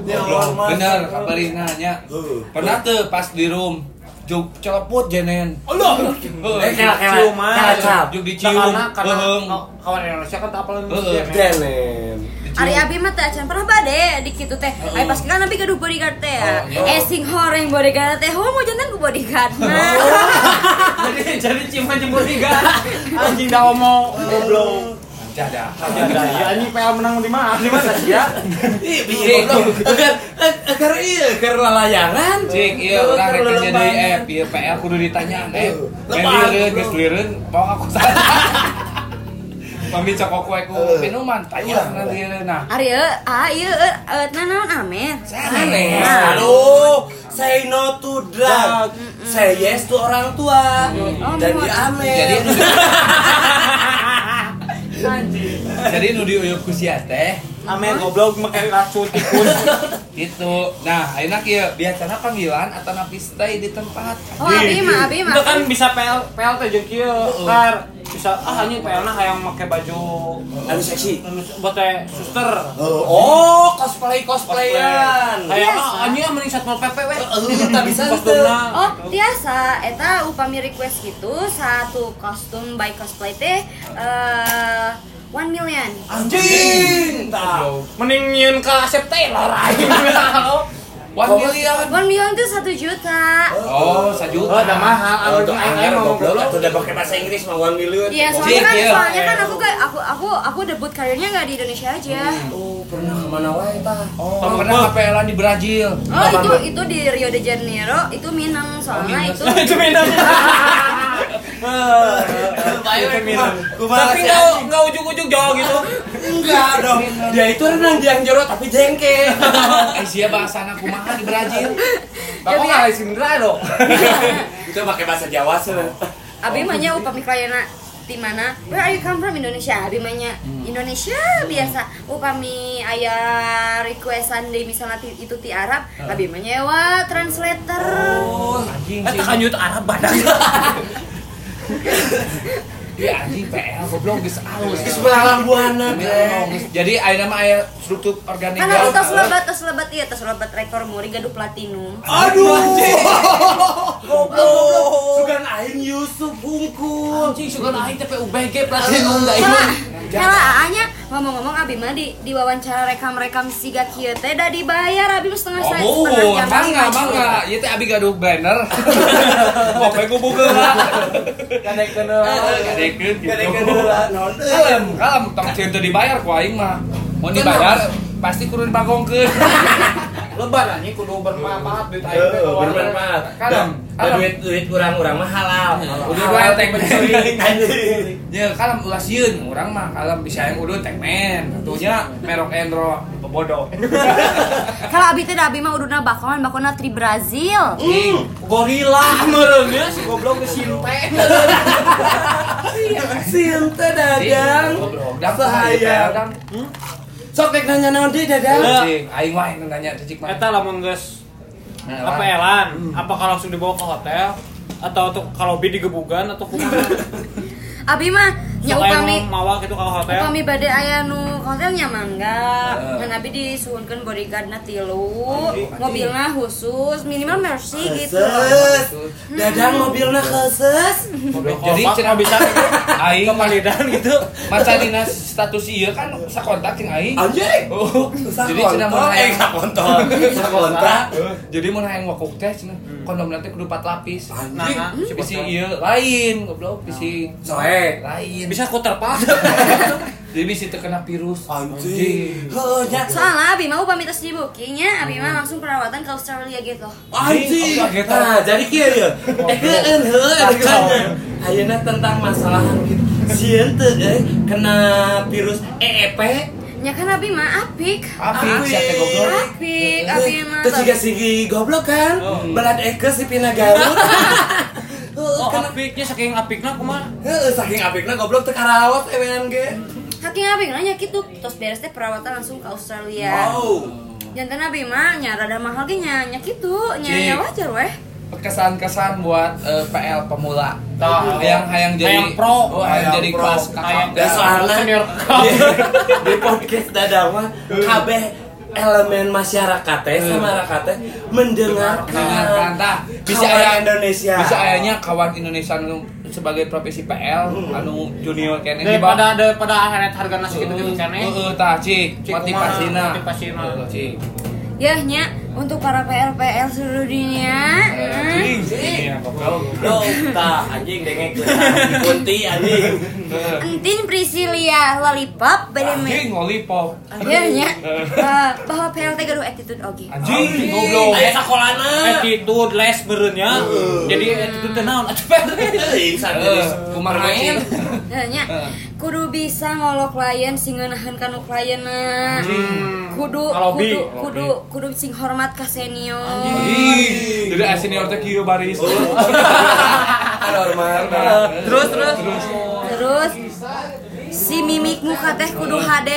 Speaker 1: Ya
Speaker 2: Bener, kabarin nanya.
Speaker 1: Heeh.
Speaker 2: Pernah tuh pas di room, juk celeput jenen.
Speaker 3: Allah.
Speaker 2: Heeh,
Speaker 3: kela kela.
Speaker 1: Ciuman.
Speaker 3: Kela cap.
Speaker 2: Juk dicium.
Speaker 3: Karena karena
Speaker 2: Heeh.
Speaker 3: kawan Indonesia kan tak apalin
Speaker 2: Heeh.
Speaker 1: Denen.
Speaker 4: Ari abi mah teh acan pernah bade di kitu teh. Ari pas kan abi gaduh bodyguard teh.
Speaker 2: Oh,
Speaker 4: ya.
Speaker 2: iya.
Speaker 4: Eh sing horeng bodyguard teh homo jantan ku bodyguard mah.
Speaker 2: Oh.
Speaker 3: Jadi jadi ciuman jemput tiga. Anjing dah omo goblok.
Speaker 2: Dadah.
Speaker 3: Ya dah, ya anjing PL menang di mana? Di mana sih ya?
Speaker 1: Ih, piye Iya, goblok. Agar agar ieu keur lalayangan.
Speaker 2: Cik, iya, orang rekennya dari app, iya, PR kudu ditanya, eh,
Speaker 1: Lepang,
Speaker 2: ngelirin,
Speaker 1: bro.
Speaker 2: ngelirin, mau aku salah. Mami cokok kue ku minuman, tanya ngelirin, nah.
Speaker 4: Ari e ah ieu e e, na naon Amer.
Speaker 2: Aneh.
Speaker 1: Nah, Aduh, say no to drug, say yes to orang tua, jadi amin.
Speaker 2: Jadi,
Speaker 3: Anjing.
Speaker 2: jadi nu diuyup ku sia teh,
Speaker 3: Amin goblok make racun tikus.
Speaker 2: gitu. Nah, akhirnya kia, biasanya panggilan atau napi stay di tempat.
Speaker 4: Oh abi
Speaker 2: iya.
Speaker 4: mah abi mah.
Speaker 3: Itu kan bisa PL PL teh jeung kieu kar bisa ah anjing PL na hayang make baju
Speaker 1: Anu seksi.
Speaker 3: anu Eh, buat teh suster.
Speaker 1: Oh, cosplay cosplayan.
Speaker 3: Hayang
Speaker 4: Biasa.
Speaker 3: ah anjing mending satpol PP we.
Speaker 1: tak bisa
Speaker 3: Kostum
Speaker 1: tuh.
Speaker 3: na.
Speaker 4: Oh, biasa eta upami request gitu satu kostum by cosplay teh eh 1 million.
Speaker 1: Anjing. Tah.
Speaker 3: Mending nyieun ka Asep Taylor anjing.
Speaker 2: One million.
Speaker 4: 1 million itu 1 juta.
Speaker 2: Oh, sajuta.
Speaker 3: Oh, udah mahal.
Speaker 1: Kalau untuk
Speaker 3: Aing-
Speaker 1: anyar
Speaker 3: aing ngomong
Speaker 1: goblok
Speaker 3: goblok.
Speaker 1: atau udah pakai bahasa Inggris mah 1 million.
Speaker 4: Iya,
Speaker 2: Jadi,
Speaker 4: soalnya kan
Speaker 2: iya.
Speaker 4: soalnya kan aku kayak aku aku aku debut karirnya nggak di Indonesia aja.
Speaker 2: Hmm.
Speaker 1: Oh, pernah kemana wae tah?
Speaker 2: Oh, pernah KPL-an di Brazil.
Speaker 4: Oh, itu itu di Rio de Janeiro, itu Minang
Speaker 2: Oh,
Speaker 4: soalnya
Speaker 2: Minang.
Speaker 4: itu.
Speaker 3: Itu minum.
Speaker 1: Itu minum.
Speaker 3: Tapi enggak enggak ujug-ujug jauh gitu.
Speaker 1: Enggak dong. Dia itu renang di Anjero tapi jengke.
Speaker 2: Eh, sia bahasa anak kumaha di Brazil.
Speaker 3: Tapi enggak isin dong.
Speaker 1: Itu pakai bahasa Jawa sih.
Speaker 2: Oh,
Speaker 4: Abi mah
Speaker 2: gitu.
Speaker 4: nya upami klienna di mana? Where are you come from Indonesia? Abi mah nya
Speaker 2: Hmm.
Speaker 4: Indonesia biasa. Upami aya requestan deui misalnya ti- itu ti Arab,
Speaker 2: Ah.
Speaker 4: abi mah nyewa translator.
Speaker 2: Oh, Anjing
Speaker 3: Eta
Speaker 2: sih.
Speaker 3: kanyut Arab badan.
Speaker 2: Iya anjing PL goblok geus alus.
Speaker 1: Di sebelah buana.
Speaker 2: Demi Allah, geus. Jadi ayeuna mah aya struktur organik.
Speaker 4: Kan abi tos lebat, tos lebat iya, tos lebat rekor muri gaduh platinum.
Speaker 1: Aduh. Goblok. Sugan aing Yusuf hungkul.
Speaker 3: Anjing suka aing teh UBG platinum
Speaker 2: Eh,
Speaker 3: da ieu.
Speaker 4: Salah, salah aanya ngomong-ngomong Abi mah di, di wawancara rekam-rekam siga kieu teh da dibayar Abi mah setengah
Speaker 2: Oh,
Speaker 4: saya setengah
Speaker 2: bukan,
Speaker 4: jam.
Speaker 2: bangga, bangga. Ieu teh abi gaduh blender. Pope ku bukeula.
Speaker 3: Kadek kenal.
Speaker 2: Gadekeun gitu.
Speaker 1: Gadekeun heula, naon deui.
Speaker 2: Kalem, kalem tong cieun teu dibayar ku aing mah. Mau dibayar pasti kudu dipagongkeun.
Speaker 3: Lebar anjing kudu bermanfaat duit aing teh.
Speaker 1: Heuh, bermanfaat.
Speaker 2: Kalem,
Speaker 1: Da
Speaker 2: kalem.
Speaker 1: duit duit urang-urang mah halal.
Speaker 2: Udah dua tek
Speaker 1: Anjing.
Speaker 2: Ya kalem ulas yeun urang mah kalem bisa yang udah tek men. Atunya merok endro bodoh.
Speaker 4: Kalau Abi teh da Abi mah uduna bakwan, bakwana tri Brazil.
Speaker 2: Ih,
Speaker 3: Gorila meureun ya si goblok ke sinte.
Speaker 1: Sinta
Speaker 2: Dadang,
Speaker 1: dadang.
Speaker 2: Dadang
Speaker 1: Sahaya.
Speaker 2: sahaya. Dadang,
Speaker 1: Sok nek nanya naon deui dadang.
Speaker 2: Cing, aing mah yang nanya cicik mah.
Speaker 3: Eta lamun geus
Speaker 2: Nah,
Speaker 3: apa
Speaker 2: lah.
Speaker 3: elan? Hmm. Apakah langsung dibawa ke hotel? atau tuh kalau bi digebugan atau kumaha
Speaker 4: Abi mah nya
Speaker 3: Sok aing
Speaker 4: upami
Speaker 3: mau mawak itu ke hotel
Speaker 4: upami bade aya nu ka hotel nyaman enggak
Speaker 2: Heeh.
Speaker 4: dan abi disuhunkan bodyguardnya tilu
Speaker 2: Anjing.
Speaker 4: mobilnya khusus minimal mercy gitu
Speaker 1: Khusus. Dadang mobilnya khusus.
Speaker 2: Jadi cina bisa aing
Speaker 3: Kepalidan gitu.
Speaker 2: maca dina status ieu kan sakontak jeung aing.
Speaker 1: Anjing.
Speaker 2: Oh, jadi cina
Speaker 1: kontol,
Speaker 2: mau
Speaker 1: eh
Speaker 2: hayang
Speaker 1: kontol, sakontak.
Speaker 2: jadi mau hayang ngokok teh cina kondom nanti kudu 4 lapis.
Speaker 3: Nah,
Speaker 1: Anjing.
Speaker 3: nah, si
Speaker 2: Bisi
Speaker 3: bocah.
Speaker 2: ieu lain goblok bisi
Speaker 1: Soek.
Speaker 2: lain.
Speaker 3: Bisa ku terpaksa.
Speaker 2: Jadi bisi terkena virus.
Speaker 1: Anjing. Heuh, nya.
Speaker 4: soalnya abi mau pamit di bookingnya abi
Speaker 2: Hmm.
Speaker 4: mah langsung perawatan ke Australia gitu
Speaker 1: Anjing.
Speaker 2: Anjing.
Speaker 1: Nah, jadi kieu ya. Ekeun heuh adegan. Ayeuna tentang masalah gitu. Sieun teh eh, kena virus EEP.
Speaker 4: ya kan abi mah apik
Speaker 2: Apik, sia teh goblok.
Speaker 4: apik abi mah
Speaker 1: Terus juga si goblok kan, belat eke si Pina Garut. Heuh,
Speaker 3: Oh,
Speaker 1: kena-
Speaker 3: apiknya saking apikna kumaha?
Speaker 1: Heuh, saking apikna goblok teu karawat EWNG.
Speaker 4: Hakim abi nanya gitu terus beres teh perawatan langsung ke Australia
Speaker 1: Wow.
Speaker 4: jantan abi mah nya rada mahal ge nya nya gitu nya
Speaker 2: Cik.
Speaker 4: nya wajar weh
Speaker 2: kesan-kesan buat eh, PL pemula.
Speaker 3: Tah.
Speaker 2: yang hayang jadi
Speaker 3: Hayang pro.
Speaker 2: oh, hayang,
Speaker 1: Hayang
Speaker 2: jadi
Speaker 1: pro.
Speaker 2: kelas
Speaker 3: Hayang
Speaker 2: kakak.
Speaker 1: Dan soalnya
Speaker 3: Senior
Speaker 1: di, di podcast Dadang mah kabeh elemen masyarakat teh sama rakyat teh Hmm.
Speaker 2: Dengarkan
Speaker 1: mendengarkan
Speaker 2: tah. Bisa
Speaker 1: kawan
Speaker 2: aya
Speaker 1: Indonesia.
Speaker 2: Bisa ayahnya kawan Indonesia anu sebagai profesi PL anu junior kene
Speaker 3: Daripada daripada akhirnya harga nasi gitu gitu kan eh.
Speaker 2: Heeh, tah cik,
Speaker 3: Cik, kumaha,
Speaker 2: motivasina.
Speaker 3: motivasina.
Speaker 2: Heeh, Cik.
Speaker 4: ya nya untuk para PL-PL seluruh dunia eh,
Speaker 2: Cik, cik. Iya, pokoknya.
Speaker 1: Loh, tah anjing dengek di kunti anjing.
Speaker 4: entin Priscilia lollipop bade
Speaker 2: Anjing lollipop.
Speaker 4: ya nya eh, bahwa PLT gaduh attitude oke
Speaker 2: Anjing
Speaker 3: Anjing.
Speaker 2: goblok.
Speaker 1: Aya sakolana.
Speaker 3: Attitude Eh, les berenya. Jadi eh, attitude teh naon?
Speaker 1: Euy, sadis.
Speaker 2: Heeh, kumaha
Speaker 1: Permen.
Speaker 2: cik?
Speaker 4: Ya, nya kudu bisa ngolok klien sing ngeunaheun kana klien kudu
Speaker 3: Alobi.
Speaker 4: kudu kudu kudu sing hormat ka senior
Speaker 2: Ih, Jadi eh, senior teh kieu baris.
Speaker 3: Oh.
Speaker 1: Normal.
Speaker 3: Terus terus.
Speaker 4: Terus si mimik muka teh kudu HD,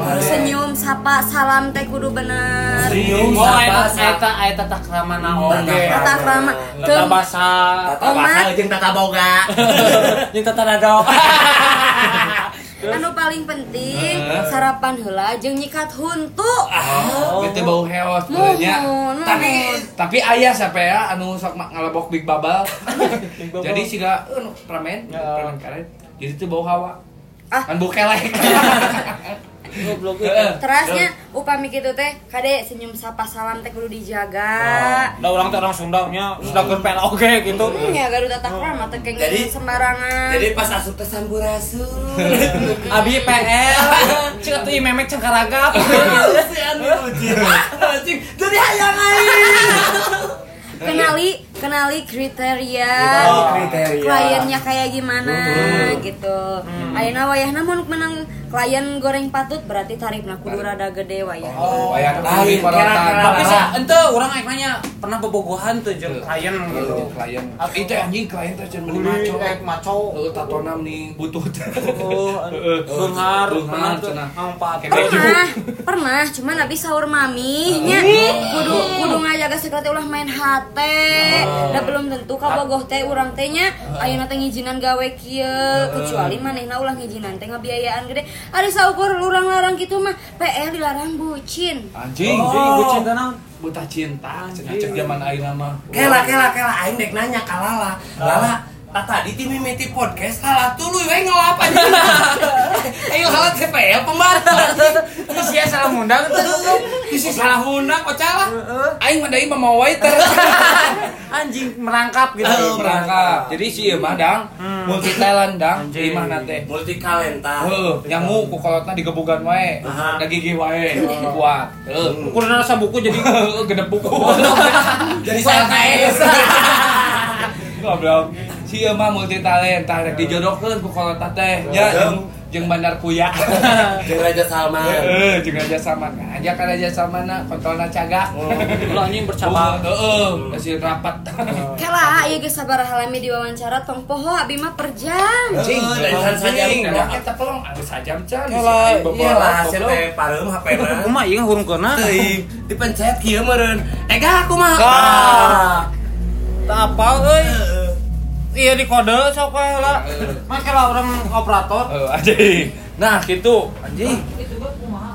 Speaker 4: kudu senyum, sapa, salam teh kudu bener.
Speaker 1: Senyum
Speaker 3: Oh, eta
Speaker 1: sapa,
Speaker 3: eta eta takrama naon
Speaker 1: Tata
Speaker 3: ge?
Speaker 1: krama.
Speaker 4: Tata krama.
Speaker 3: Tata basa.
Speaker 1: Tata bahasa jeung tata boga.
Speaker 3: Jeung tata dado.
Speaker 4: Anu paling penting sarapan heula jeung nyikat huntu.
Speaker 2: Ah. Oh, Itu
Speaker 3: Oh,
Speaker 2: bau heos
Speaker 4: Nuhun,
Speaker 2: sebenarnya.
Speaker 4: nuhun.
Speaker 2: Tapi tapi ayah siapa ya anu sok ma- ngalebok Big Babal. Jadi siga eh, nu pramen, pramen karet. Jadi itu bau hawa.
Speaker 4: Ah.
Speaker 2: Kan bau kelek.
Speaker 3: Goblok
Speaker 4: eh.
Speaker 2: Heeh.
Speaker 4: Terasnya upami kitu teh kade senyum sapa salam teh kudu dijaga.
Speaker 3: Da Oh, orang teh orang Sunda nya, sudah ke PL oge gitu.
Speaker 4: Hmm, ya garuda tata krama teh kenging
Speaker 1: Jadi-
Speaker 4: sembarangan.
Speaker 1: Jadi pas asup teh sampurasun.
Speaker 3: Abi PL, cek tuh memek cengkaragap.
Speaker 1: Si anjing ujir. Anjing, jadi hayang aing.
Speaker 4: kenali kenali kriteria
Speaker 1: Kenali kriteria.
Speaker 4: kliennya kayak gimana
Speaker 1: Mm-hmm.
Speaker 4: gitu ayeuna wayahna mun menang klien goreng patut berarti tarifna kudu rada gede wayah
Speaker 2: Oh, ayah
Speaker 1: lain, kera-kera.
Speaker 3: Tapi sih, ente orang yang nanya pernah bobogohan tuh jeung klien gitu.
Speaker 2: klien. Itu anjing klien teh jeung meuli maco.
Speaker 3: Kayak maco.
Speaker 2: Heeh, tatonam nih butut.
Speaker 3: Oh, bengar,
Speaker 2: Beunghar,
Speaker 3: bengar tuh.
Speaker 2: cenah.
Speaker 3: Ngompat.
Speaker 4: pernah pernah cuman abis sahur mami nya kudu kudu ngajaga sekali ulah main hate da belum tentu kabogoh teh urang teh nya ayeuna teh ngijinan gawe kieu kecuali manehna ulah ngijinan teh ngabiayaan gede ari saukur urang larang kitu mah PL dilarang bucin
Speaker 3: Anjing,
Speaker 2: Anjing,
Speaker 1: Oh.
Speaker 3: gue cinta naon?
Speaker 2: buta cinta. Cenah cek zaman ayeuna mah.
Speaker 1: Kela kela kela aing dek nanya ka Lala. Lala Tata di tim Mimiti Podcast salah tuluy we ngelap aja. Ayo halat CPL pembatas.
Speaker 3: Ini sia salah mundang tuh.
Speaker 2: Isi salah hundak ocalah. Aing mah deui mau waiter.
Speaker 3: Anjing merangkap gitu.
Speaker 1: Eh,
Speaker 2: perangkap. Jadi si ieu mah dang
Speaker 1: Hmm.
Speaker 2: multi talent dang
Speaker 3: Anjing.
Speaker 2: imah na teh.
Speaker 1: Multi kalenta.
Speaker 3: Eh,
Speaker 2: Heeh, nyamuk ku kolotna digebugan wae.
Speaker 1: Ah. Aha.
Speaker 2: Da gigi wae kuat. Heeh.
Speaker 3: Kurang rasa buku jadi
Speaker 2: Heeh, Gede buku.
Speaker 1: Jadi saya KS.
Speaker 2: Goblok. Si ieu mah multi talent tah rek dijodohkeun ku kolotna teh. Ya jeung- jeung bandar kuya.
Speaker 1: Jeung Raja Salman.
Speaker 2: Heeh, jeung aja sama. Aja kan aja sama na kontolna cagak.
Speaker 1: Oh.
Speaker 3: Lu anjing bercabang.
Speaker 2: Heeh,
Speaker 1: Hmm.
Speaker 2: hasil rapat.
Speaker 4: Kela, ieu geus sabar halami diwawancara tong poho abi mah per jam.
Speaker 1: Anjing,
Speaker 2: Heeh,
Speaker 1: dari sana saja.
Speaker 2: Dah kita pelong harus sajam can.
Speaker 1: Kela,
Speaker 2: Si aing beberapa
Speaker 1: iyalah
Speaker 2: goblok.
Speaker 1: CPL pareum HP-na.
Speaker 3: Kumaha ieu hurung kena?
Speaker 1: Teuing dipencet kieu meureun. Ega aku mah.
Speaker 3: Kah. Tak apa euy.
Speaker 1: Heeh.
Speaker 3: Iya di kode sok wae lah. Mah kalau orang operator
Speaker 2: Eh, anjing. Nah, gitu. Anjing.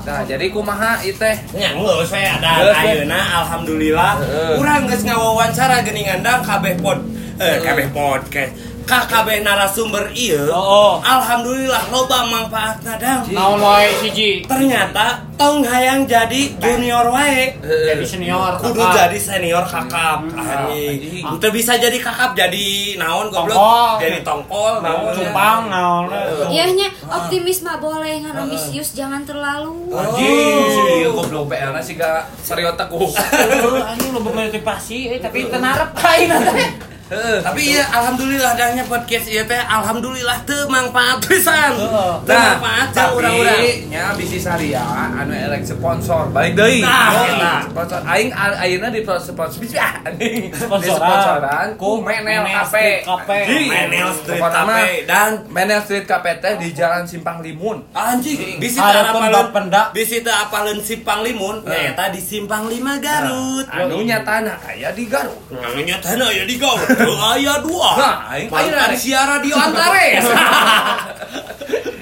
Speaker 2: Nah, jadi kumaha ieu teh?
Speaker 1: Ya, ngeus we ada
Speaker 2: Ngeus we.
Speaker 1: ayeuna alhamdulillah
Speaker 2: Heeh.
Speaker 1: urang geus ngawawancara geuning andang kabeh pod eh kabeh podcast ka kabeh narasumber ieu.
Speaker 2: Oh, oh.
Speaker 1: Alhamdulillah loba manfaatna dang.
Speaker 3: Naon wae siji.
Speaker 1: Ternyata tong hayang jadi junior wae.
Speaker 2: Eh.
Speaker 3: Jadi senior.
Speaker 1: Kudu
Speaker 3: kakak.
Speaker 1: jadi senior kakap anjing. Teu bisa jadi kakap jadi naon
Speaker 3: Tongkol.
Speaker 1: goblok. Jadi tongkol naon.
Speaker 3: Cupang naon.
Speaker 4: Iyahnya optimisme boleh ngan ambisius jangan terlalu.
Speaker 2: Oh. Anjing,
Speaker 1: Oh.
Speaker 2: si ieu goblok PL-na siga sariota ku.
Speaker 3: Anjing lu bermotivasi eh tapi tenarap kain teh.
Speaker 2: Heeh.
Speaker 1: Tapi iya alhamdulillah dahnya podcast ieu teh alhamdulillah teu manfaat pisan. Teu
Speaker 2: Nah,
Speaker 1: manfaat jeung urang-urang.
Speaker 2: Oh, tapi nya bisi saria anu elek sponsor balik deui.
Speaker 1: Nah,
Speaker 2: Oh,
Speaker 1: eta.
Speaker 2: sponsor aing a- ayeuna di sponsor bisa anjing.
Speaker 3: Sponsoran.
Speaker 2: Di sponsoran ku
Speaker 3: Ku Menel
Speaker 2: Menel Cafe.
Speaker 3: Street Cafe.
Speaker 2: Anjing.
Speaker 1: Menel Street
Speaker 2: Pokokna mah,
Speaker 1: Cafe dan
Speaker 2: Menel Street Cafe teh di Jalan Simpang Limun.
Speaker 1: anjing bisi
Speaker 3: Harapun
Speaker 1: apaleun-
Speaker 3: bapendak.
Speaker 1: bisi teu apaleun Simpang Limun
Speaker 2: Eh.
Speaker 1: nyaeta di Simpang Lima Garut.
Speaker 2: Anu nya tanah aya di Garut.
Speaker 1: Namanya tanah ya di Garut. Teu aya dua.
Speaker 2: Nah, aing
Speaker 1: Mantan
Speaker 2: ayeuna.
Speaker 1: siara di Antares.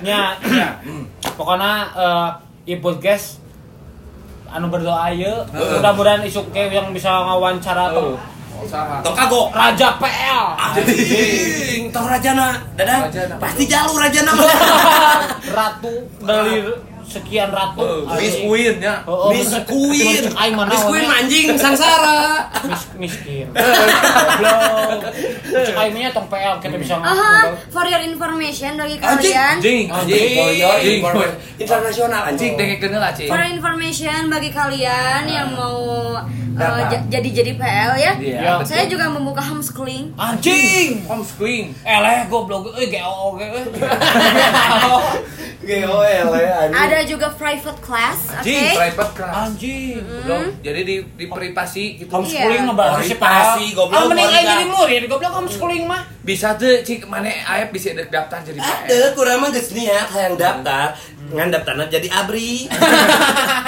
Speaker 3: Nya, nya.
Speaker 2: Hmm,
Speaker 3: Pokona Ya, iya. eh i podcast anu berdoa ye mudah-mudahan isuk ke yang bisa ngawancara tuh
Speaker 2: Usaha.
Speaker 1: Tong kagok.
Speaker 3: Raja PL
Speaker 1: Anjing, tong rajana. Dadang,
Speaker 2: Rajana.
Speaker 1: pasti jalur rajana.
Speaker 3: ratu dari sekian ratu
Speaker 2: Eh, Miss
Speaker 3: Anjing.
Speaker 2: Win nya.
Speaker 3: Oh, oh,
Speaker 1: Biskuin.
Speaker 3: bener. Aing mana
Speaker 1: Biskuin
Speaker 3: wane?
Speaker 1: anjing sangsara.
Speaker 3: Mis- miskin goblok aimnya tong PL kita bisa
Speaker 4: Aha,
Speaker 3: ngobrol
Speaker 4: for your information bagi
Speaker 1: Anjing,
Speaker 4: kalian.
Speaker 2: Anjing, anjing,
Speaker 1: For your
Speaker 2: anjing.
Speaker 1: information. internasional anjing.
Speaker 2: Anjing dengekeun lah, Cing.
Speaker 4: For your information bagi kalian yang mau eh,
Speaker 1: Data.
Speaker 4: jadi jadi PL ya.
Speaker 2: Ah. Iya, betul.
Speaker 4: Saya juga membuka homeschooling.
Speaker 3: anjing
Speaker 2: homeschooling.
Speaker 3: eleh goblok Eh, euy GOG euy
Speaker 1: GOL ya
Speaker 4: Ada juga private class, oke?
Speaker 2: Anjing, private
Speaker 3: Hmm.
Speaker 2: class.
Speaker 3: anjing
Speaker 2: Goblok. Jadi di di privasi gitu.
Speaker 3: homeschooling
Speaker 4: Iya.
Speaker 3: ngebahas si
Speaker 1: Orientasi, goblok,
Speaker 3: Ah, mending aing
Speaker 1: warga.
Speaker 3: jadi murid goblok homeschooling mah
Speaker 2: Bisa tuh cik mana ayah bisa dek- daftar jadi
Speaker 1: Ada, kurang mah geus niat hayang daftar, ngan daftarna jadi abri.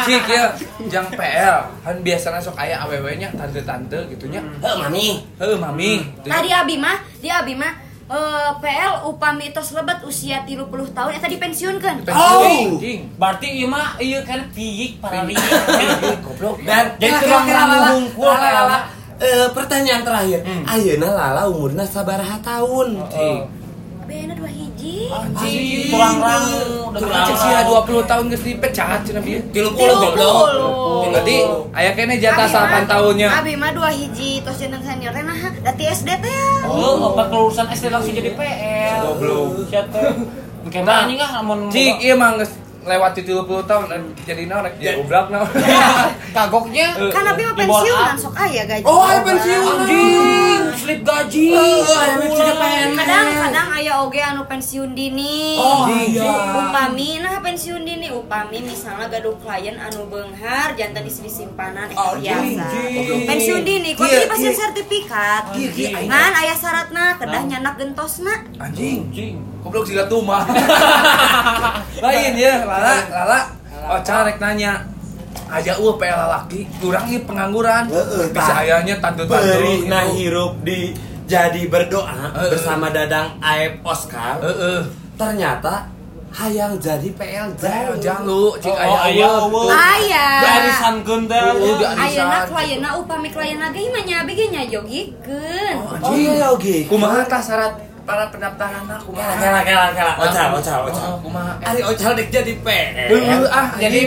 Speaker 2: Cik ya, jang PL. Kan biasanya sok ayah aww-nya tante-tante gitunya.
Speaker 1: Heuh, Eh, mami.
Speaker 2: Heuh, mami. Gitu.
Speaker 4: Tadi Abi mah, dia Abi mah eh, PL upami tos lebat usia 30 tahun eh, eta dipensiunkeun.
Speaker 1: Oh.
Speaker 2: Cing.
Speaker 3: berarti ieu mah ieu kan piyik para
Speaker 2: Piyik.
Speaker 3: lirik
Speaker 2: Goblok.
Speaker 1: Dan
Speaker 3: Jadi
Speaker 1: kira-kira
Speaker 3: kurang
Speaker 1: Lala,
Speaker 3: menghungkul,
Speaker 1: Lala,
Speaker 3: Lala.
Speaker 1: Lala, eh, pertanyaan terakhir. Ayeuna Lala umurna sabaraha tahun?
Speaker 2: Cing.
Speaker 4: Bener dua hiji.
Speaker 3: Anjing, kurang rangu, udah
Speaker 2: Kurang cek sih 20 tahun geus dipecat cenah bieu.
Speaker 1: 30 goblok.
Speaker 4: 30.
Speaker 2: Berarti aya kene jatah
Speaker 4: Abi mah-
Speaker 2: 8 tahunnya.
Speaker 4: Abi mah dua hiji tos jeneng senior teh nah, dati SD teh.
Speaker 3: Oh, apa kelulusan SD langsung jadi PL?
Speaker 2: Goblok.
Speaker 3: Siapa? Mungkin nah, anjing ah mun
Speaker 2: Cik, iya mah geus lewati 30 tahun dan jadi naon rek jadi oblak naon.
Speaker 3: kagoknya
Speaker 4: Kan Abi mah
Speaker 3: Di bawah A.
Speaker 4: pensiunan sok aya gaji.
Speaker 1: Oh, ayo pensiun.
Speaker 3: anjing, slip gaji.
Speaker 1: Eh, ayo pensiun PNS.
Speaker 4: Kadang-kadang aya oge anu pensiun dini.
Speaker 1: Oh, iya.
Speaker 4: Upami nah pensiun dini upami misalnya gaduh klien anu beunghar jantan isi disimpanan eta eh, biasa. Pensiun dini kok
Speaker 1: Iya,
Speaker 4: jadi pasien
Speaker 1: iya.
Speaker 4: sertifikat.
Speaker 1: Iya, iya, iya.
Speaker 4: Ngan aya syaratna kedah nyanak gentosna.
Speaker 2: Anjing.
Speaker 3: Anjing.
Speaker 2: Goblok sila tumah. Lain ya, Lala, Lala. Oh, cara rek nanya. uh, Aja eueuh PL lalaki, kurang ieu pengangguran.
Speaker 1: Heeh,
Speaker 2: Bisa
Speaker 1: tah.
Speaker 2: ayahnya tante-tante
Speaker 1: Beri nah
Speaker 2: gitu.
Speaker 1: hirup di jadi berdoa
Speaker 2: Heeh.
Speaker 1: bersama Dadang Aep Oscar.
Speaker 2: Heeh.
Speaker 1: Ternyata hayang jadi PL jauh.
Speaker 2: Jang, jang lu,
Speaker 3: Oh,
Speaker 2: cik ayah uh,
Speaker 3: ayah
Speaker 2: eueuh.
Speaker 3: eueuh.
Speaker 4: Aya.
Speaker 3: gundel.
Speaker 2: Oh, di arisan.
Speaker 4: Ayeuna klienna upami klienna ge mah nya abi ge nyajogikeun.
Speaker 1: Oh iya oke.
Speaker 2: Kumaha tah syarat para pendaftaran
Speaker 1: Kela
Speaker 2: kumaha?
Speaker 1: kela kela kela. Ocal ocal ocal.
Speaker 2: Oh, Kumaha?
Speaker 1: Ari ocal dek jadi PL.
Speaker 2: Heuh, ah,
Speaker 3: Jadi
Speaker 2: jadi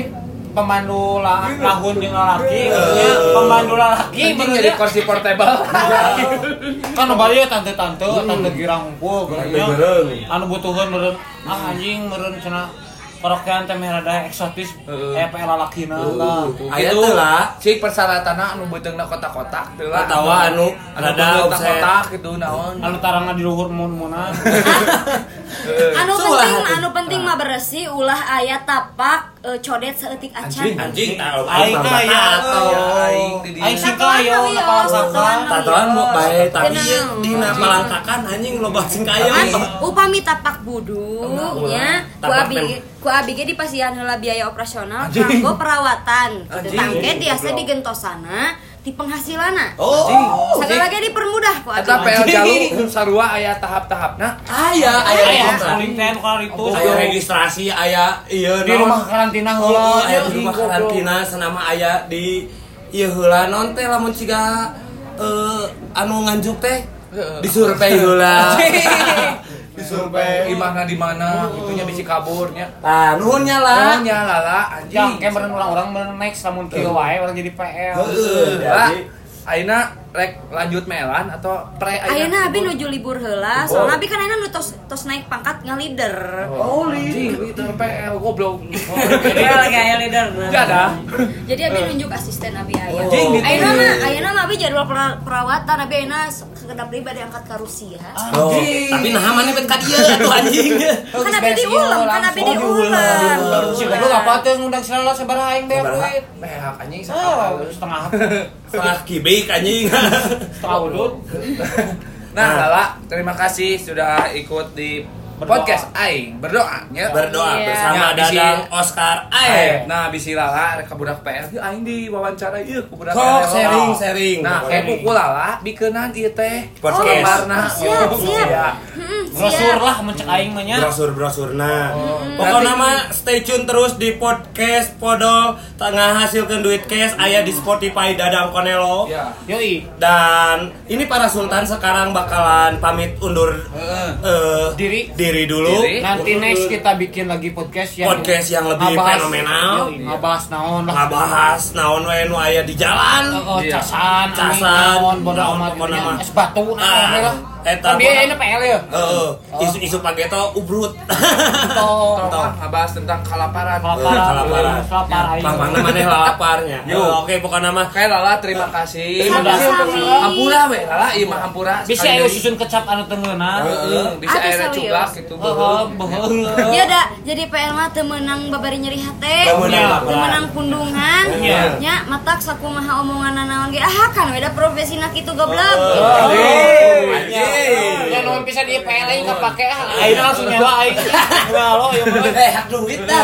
Speaker 3: pemandu la lahun jeung
Speaker 1: Eh.
Speaker 3: lalaki, maksudnya pemandu lalaki
Speaker 2: anjing jadi
Speaker 3: benernya
Speaker 2: kursi portable.
Speaker 3: kan bari ya tante-tante, tante girang gua
Speaker 1: Tante
Speaker 3: gerangnya.
Speaker 1: gereng.
Speaker 3: Anu butuheun meureun ah anjing meureun cenah parokean teh meh rada eksotis
Speaker 2: Heeh.
Speaker 3: eh PL lalakina lah.
Speaker 1: Aya teu lah.
Speaker 2: Cik persyaratan anu beuteungna kotak-kotak teu lah.
Speaker 1: Atawa anu rada offset.
Speaker 2: kotak-kotak gitu naon.
Speaker 3: Anu tarangna di luhur mun-munan.
Speaker 4: Anu
Speaker 1: Sulah
Speaker 4: penting,
Speaker 1: hati.
Speaker 4: anu penting mah bersih ulah ayat tapak eh, codet seetik
Speaker 2: Anjing,
Speaker 4: acan.
Speaker 1: Anjing tahu
Speaker 3: Aing
Speaker 1: mah
Speaker 3: kaya,
Speaker 1: tato.
Speaker 2: Ya, Ah, aing di dieu.
Speaker 3: Aing sika yo
Speaker 4: Tatoan,
Speaker 3: nakawang
Speaker 4: tatoan,
Speaker 3: saka.
Speaker 1: Tatoan mau bae tapi
Speaker 4: Tenang.
Speaker 1: dina palangkakan anjing loba sing kaya.
Speaker 4: Kan upami tapak budu nya ku
Speaker 1: Tapak
Speaker 4: abi
Speaker 1: pen-
Speaker 4: ku abi ge dipasihan heula biaya operasional kanggo perawatan. Tangke biasa digentosana di penghasilan
Speaker 1: Oh,
Speaker 4: Sekali lagi dipermudah kok
Speaker 2: Eta
Speaker 4: atuh.
Speaker 2: PL Jalu sarua aya tahap-tahapna.
Speaker 1: ayah, ayah,
Speaker 3: Ayah,
Speaker 1: registrasi.
Speaker 3: konten kalau itu
Speaker 1: Ayah registrasi, ayah, iya,
Speaker 3: di
Speaker 1: naon.
Speaker 3: rumah karantina
Speaker 1: Oh,
Speaker 3: heula.
Speaker 1: ayah di rumah karantina, senama ayah di, iya heula, non teh lamun ciga, eh, anu nganjuk teh, disurvei heula. disurvei.
Speaker 2: Imahna di mana, itunya bisi kaburnya.
Speaker 1: Nah, nuhunnya lah.
Speaker 2: Tanya lala
Speaker 3: Jang,
Speaker 2: anjing.
Speaker 3: kayak beren orang-orang beren next namun kilo wae orang jadi PL.
Speaker 1: Heeh,
Speaker 2: Lah,
Speaker 1: jadi-
Speaker 2: Aina rek lanjut melan atau pre
Speaker 4: Ayeuna abi nuju libur heula, soalnya abi kan ayeuna nu tos, tos naik pangkat ngalider.
Speaker 2: Oh, anjing, itu PL goblok.
Speaker 5: Jadi lagi ayah leader.
Speaker 2: Enggak ada.
Speaker 4: Jadi abi nunjuk asisten abi aya.
Speaker 2: Anjing, gitu.
Speaker 4: Ayeuna mah ayeuna mah abi jadwal pera- perawatan abi ayeuna sekedap pribadi angkat ka Rusia.
Speaker 1: Oh, tapi nah mana bet ka dieu atuh anjing.
Speaker 4: Kan abi diulang, kan abi
Speaker 3: langsung. Oh,
Speaker 4: diulang.
Speaker 3: Si goblok apa tuh ngundang si Lala sabaraha aing beak duit.
Speaker 2: Mehak Nah, anjing
Speaker 3: Oh,
Speaker 2: sakal.
Speaker 3: setengah
Speaker 1: Salah kibik anjing.
Speaker 3: setengah udut.
Speaker 2: Nah, Lala, terima kasih sudah ikut di
Speaker 3: Berdoa.
Speaker 2: podcast aing berdoa ya.
Speaker 1: Berdoa
Speaker 4: Iya.
Speaker 1: bersama
Speaker 2: Ya, bisi.
Speaker 1: Dadang Oscar
Speaker 2: Aing.
Speaker 1: Aep.
Speaker 2: Nah, bisi Lala rek budak PL ieu Ya, aing iya, di wawancara ieu ku budak
Speaker 1: Sok
Speaker 2: PL.
Speaker 1: sharing sharing.
Speaker 2: Nah, kayak buku Lala bikinan ieu teh.
Speaker 1: Podcast.
Speaker 2: Kamarna.
Speaker 4: Oh, Siap, siap.
Speaker 2: Iya.
Speaker 4: Hmm,
Speaker 3: Brosur
Speaker 4: siap.
Speaker 3: lah mencek aing mah nya.
Speaker 1: brosur-brosur nah. Pokoknya nama stay tune terus di podcast Podol tengah hasilkan duit cash ayah di Spotify Dadang Konelo.
Speaker 2: Iya.
Speaker 3: Yoi,
Speaker 1: Dan ini para sultan sekarang bakalan pamit undur eh,
Speaker 3: Diri.
Speaker 1: diri dulu. Nah,
Speaker 2: Diri.
Speaker 3: nanti next kita bikin lagi podcast yang
Speaker 1: Podcast yang lebih
Speaker 3: ngebahas-
Speaker 1: fenomenal.
Speaker 3: Yoi, Ngebahas naon lah.
Speaker 1: Ngabahas naon we nu aya di jalan.
Speaker 3: Oh,
Speaker 2: Iya.
Speaker 3: casan,
Speaker 1: Casan,
Speaker 3: naon bodo
Speaker 1: naon,
Speaker 3: amat
Speaker 1: bodo amat.
Speaker 3: es batu
Speaker 1: Ah,
Speaker 3: naon lah.
Speaker 1: eta
Speaker 3: Kan dia
Speaker 1: bodo-
Speaker 3: ini PL ya.
Speaker 1: Heeh. Isu-isu pageto ubrut.
Speaker 3: Tong.
Speaker 2: Tolong ngebahas tentang kelaparan.
Speaker 3: Kelaparan.
Speaker 1: Kelaparan.
Speaker 3: Kelapar aing.
Speaker 1: Pamana maneh laparnya.
Speaker 2: Yo.
Speaker 1: Oh, Oke pokoknya mah
Speaker 2: Oke Lala, terima kasih.
Speaker 4: Sami-sami.
Speaker 2: Hampura we Lala, ieu mah hampura.
Speaker 3: Bisa
Speaker 2: Sekali
Speaker 3: ayo
Speaker 2: deui.
Speaker 3: susun kecap anu teu ngeunah.
Speaker 2: Heeh, bisa
Speaker 4: Atuh
Speaker 2: ayeuna
Speaker 4: serius.
Speaker 2: cublak
Speaker 3: Oh,
Speaker 2: gitu.
Speaker 3: Heeh,
Speaker 2: beuheung.
Speaker 3: beuh.
Speaker 4: Ya udah, jadi PL mah teu meunang babari nyeri hate.
Speaker 1: Teu meunang.
Speaker 4: Teu meunang pundungan.
Speaker 3: Iya.
Speaker 4: Nya matak sakumaha omongan naon ge. Ah, kan beda profesina kitu goblok.
Speaker 3: Yang nomor bisa di PL aing kepake ah. Aing langsung nyewa aing. Udah lo ya mah.
Speaker 1: Eh, hak duit dah.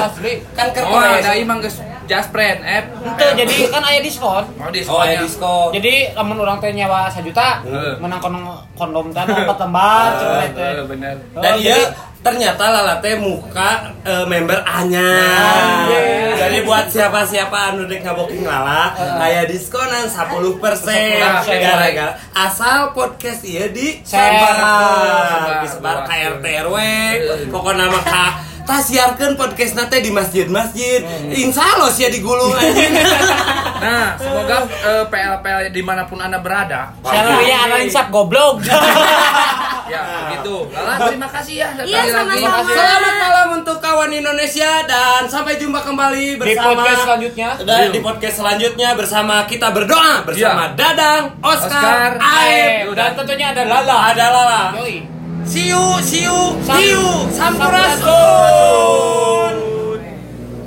Speaker 1: Kan
Speaker 2: Oh, ada
Speaker 1: kertas.
Speaker 2: imang geus just friend, eh.
Speaker 3: Henteu, jadi kan aya diskon.
Speaker 2: Oh, di
Speaker 1: Oh, ada
Speaker 2: sekolahnya.
Speaker 1: diskon.
Speaker 3: Jadi lamun urang teh nyawa 1 juta,
Speaker 2: Heeh.
Speaker 3: menang kono- kondom teh anu empat lembar cenah
Speaker 2: Eh,
Speaker 3: teh.
Speaker 2: bener.
Speaker 1: Dan
Speaker 3: Oh,
Speaker 1: iya
Speaker 3: jadi-
Speaker 1: ternyata Lala teh muka eh, member Anya.
Speaker 3: Anjay.
Speaker 1: Jadi buat siapa-siapa anu dek ngaboking Lala, aya diskonan 10% gara-gara asal podcast ieu di
Speaker 3: Share.
Speaker 1: sebar
Speaker 2: Sebar.
Speaker 1: disebar ka RT RW. Pokona mah ka tah siarkeun podcastna teh di masjid-masjid. Insyaallah sia digulung anjing.
Speaker 2: Nah, semoga eh, PL-PL dimanapun Anda berada.
Speaker 3: Salary ana insap goblok.
Speaker 2: Ya, begitu. Lala, terima kasih ya. sekali lagi.
Speaker 4: Iya, sama-sama.
Speaker 1: Selamat malam untuk kawan Indonesia dan sampai jumpa kembali
Speaker 3: Di
Speaker 1: bersama
Speaker 3: podcast selanjutnya.
Speaker 1: Dan di podcast selanjutnya bersama kita berdoa bersama
Speaker 2: Iya.
Speaker 1: Dadang, Oscar,
Speaker 2: Oscar,
Speaker 1: Aep,
Speaker 3: Dan tentunya ada Lala.
Speaker 1: ada Lala.
Speaker 3: Yoi.
Speaker 1: See you, see you,
Speaker 3: Sam-
Speaker 1: see you,
Speaker 3: Sampurasun.
Speaker 1: Sampurasun.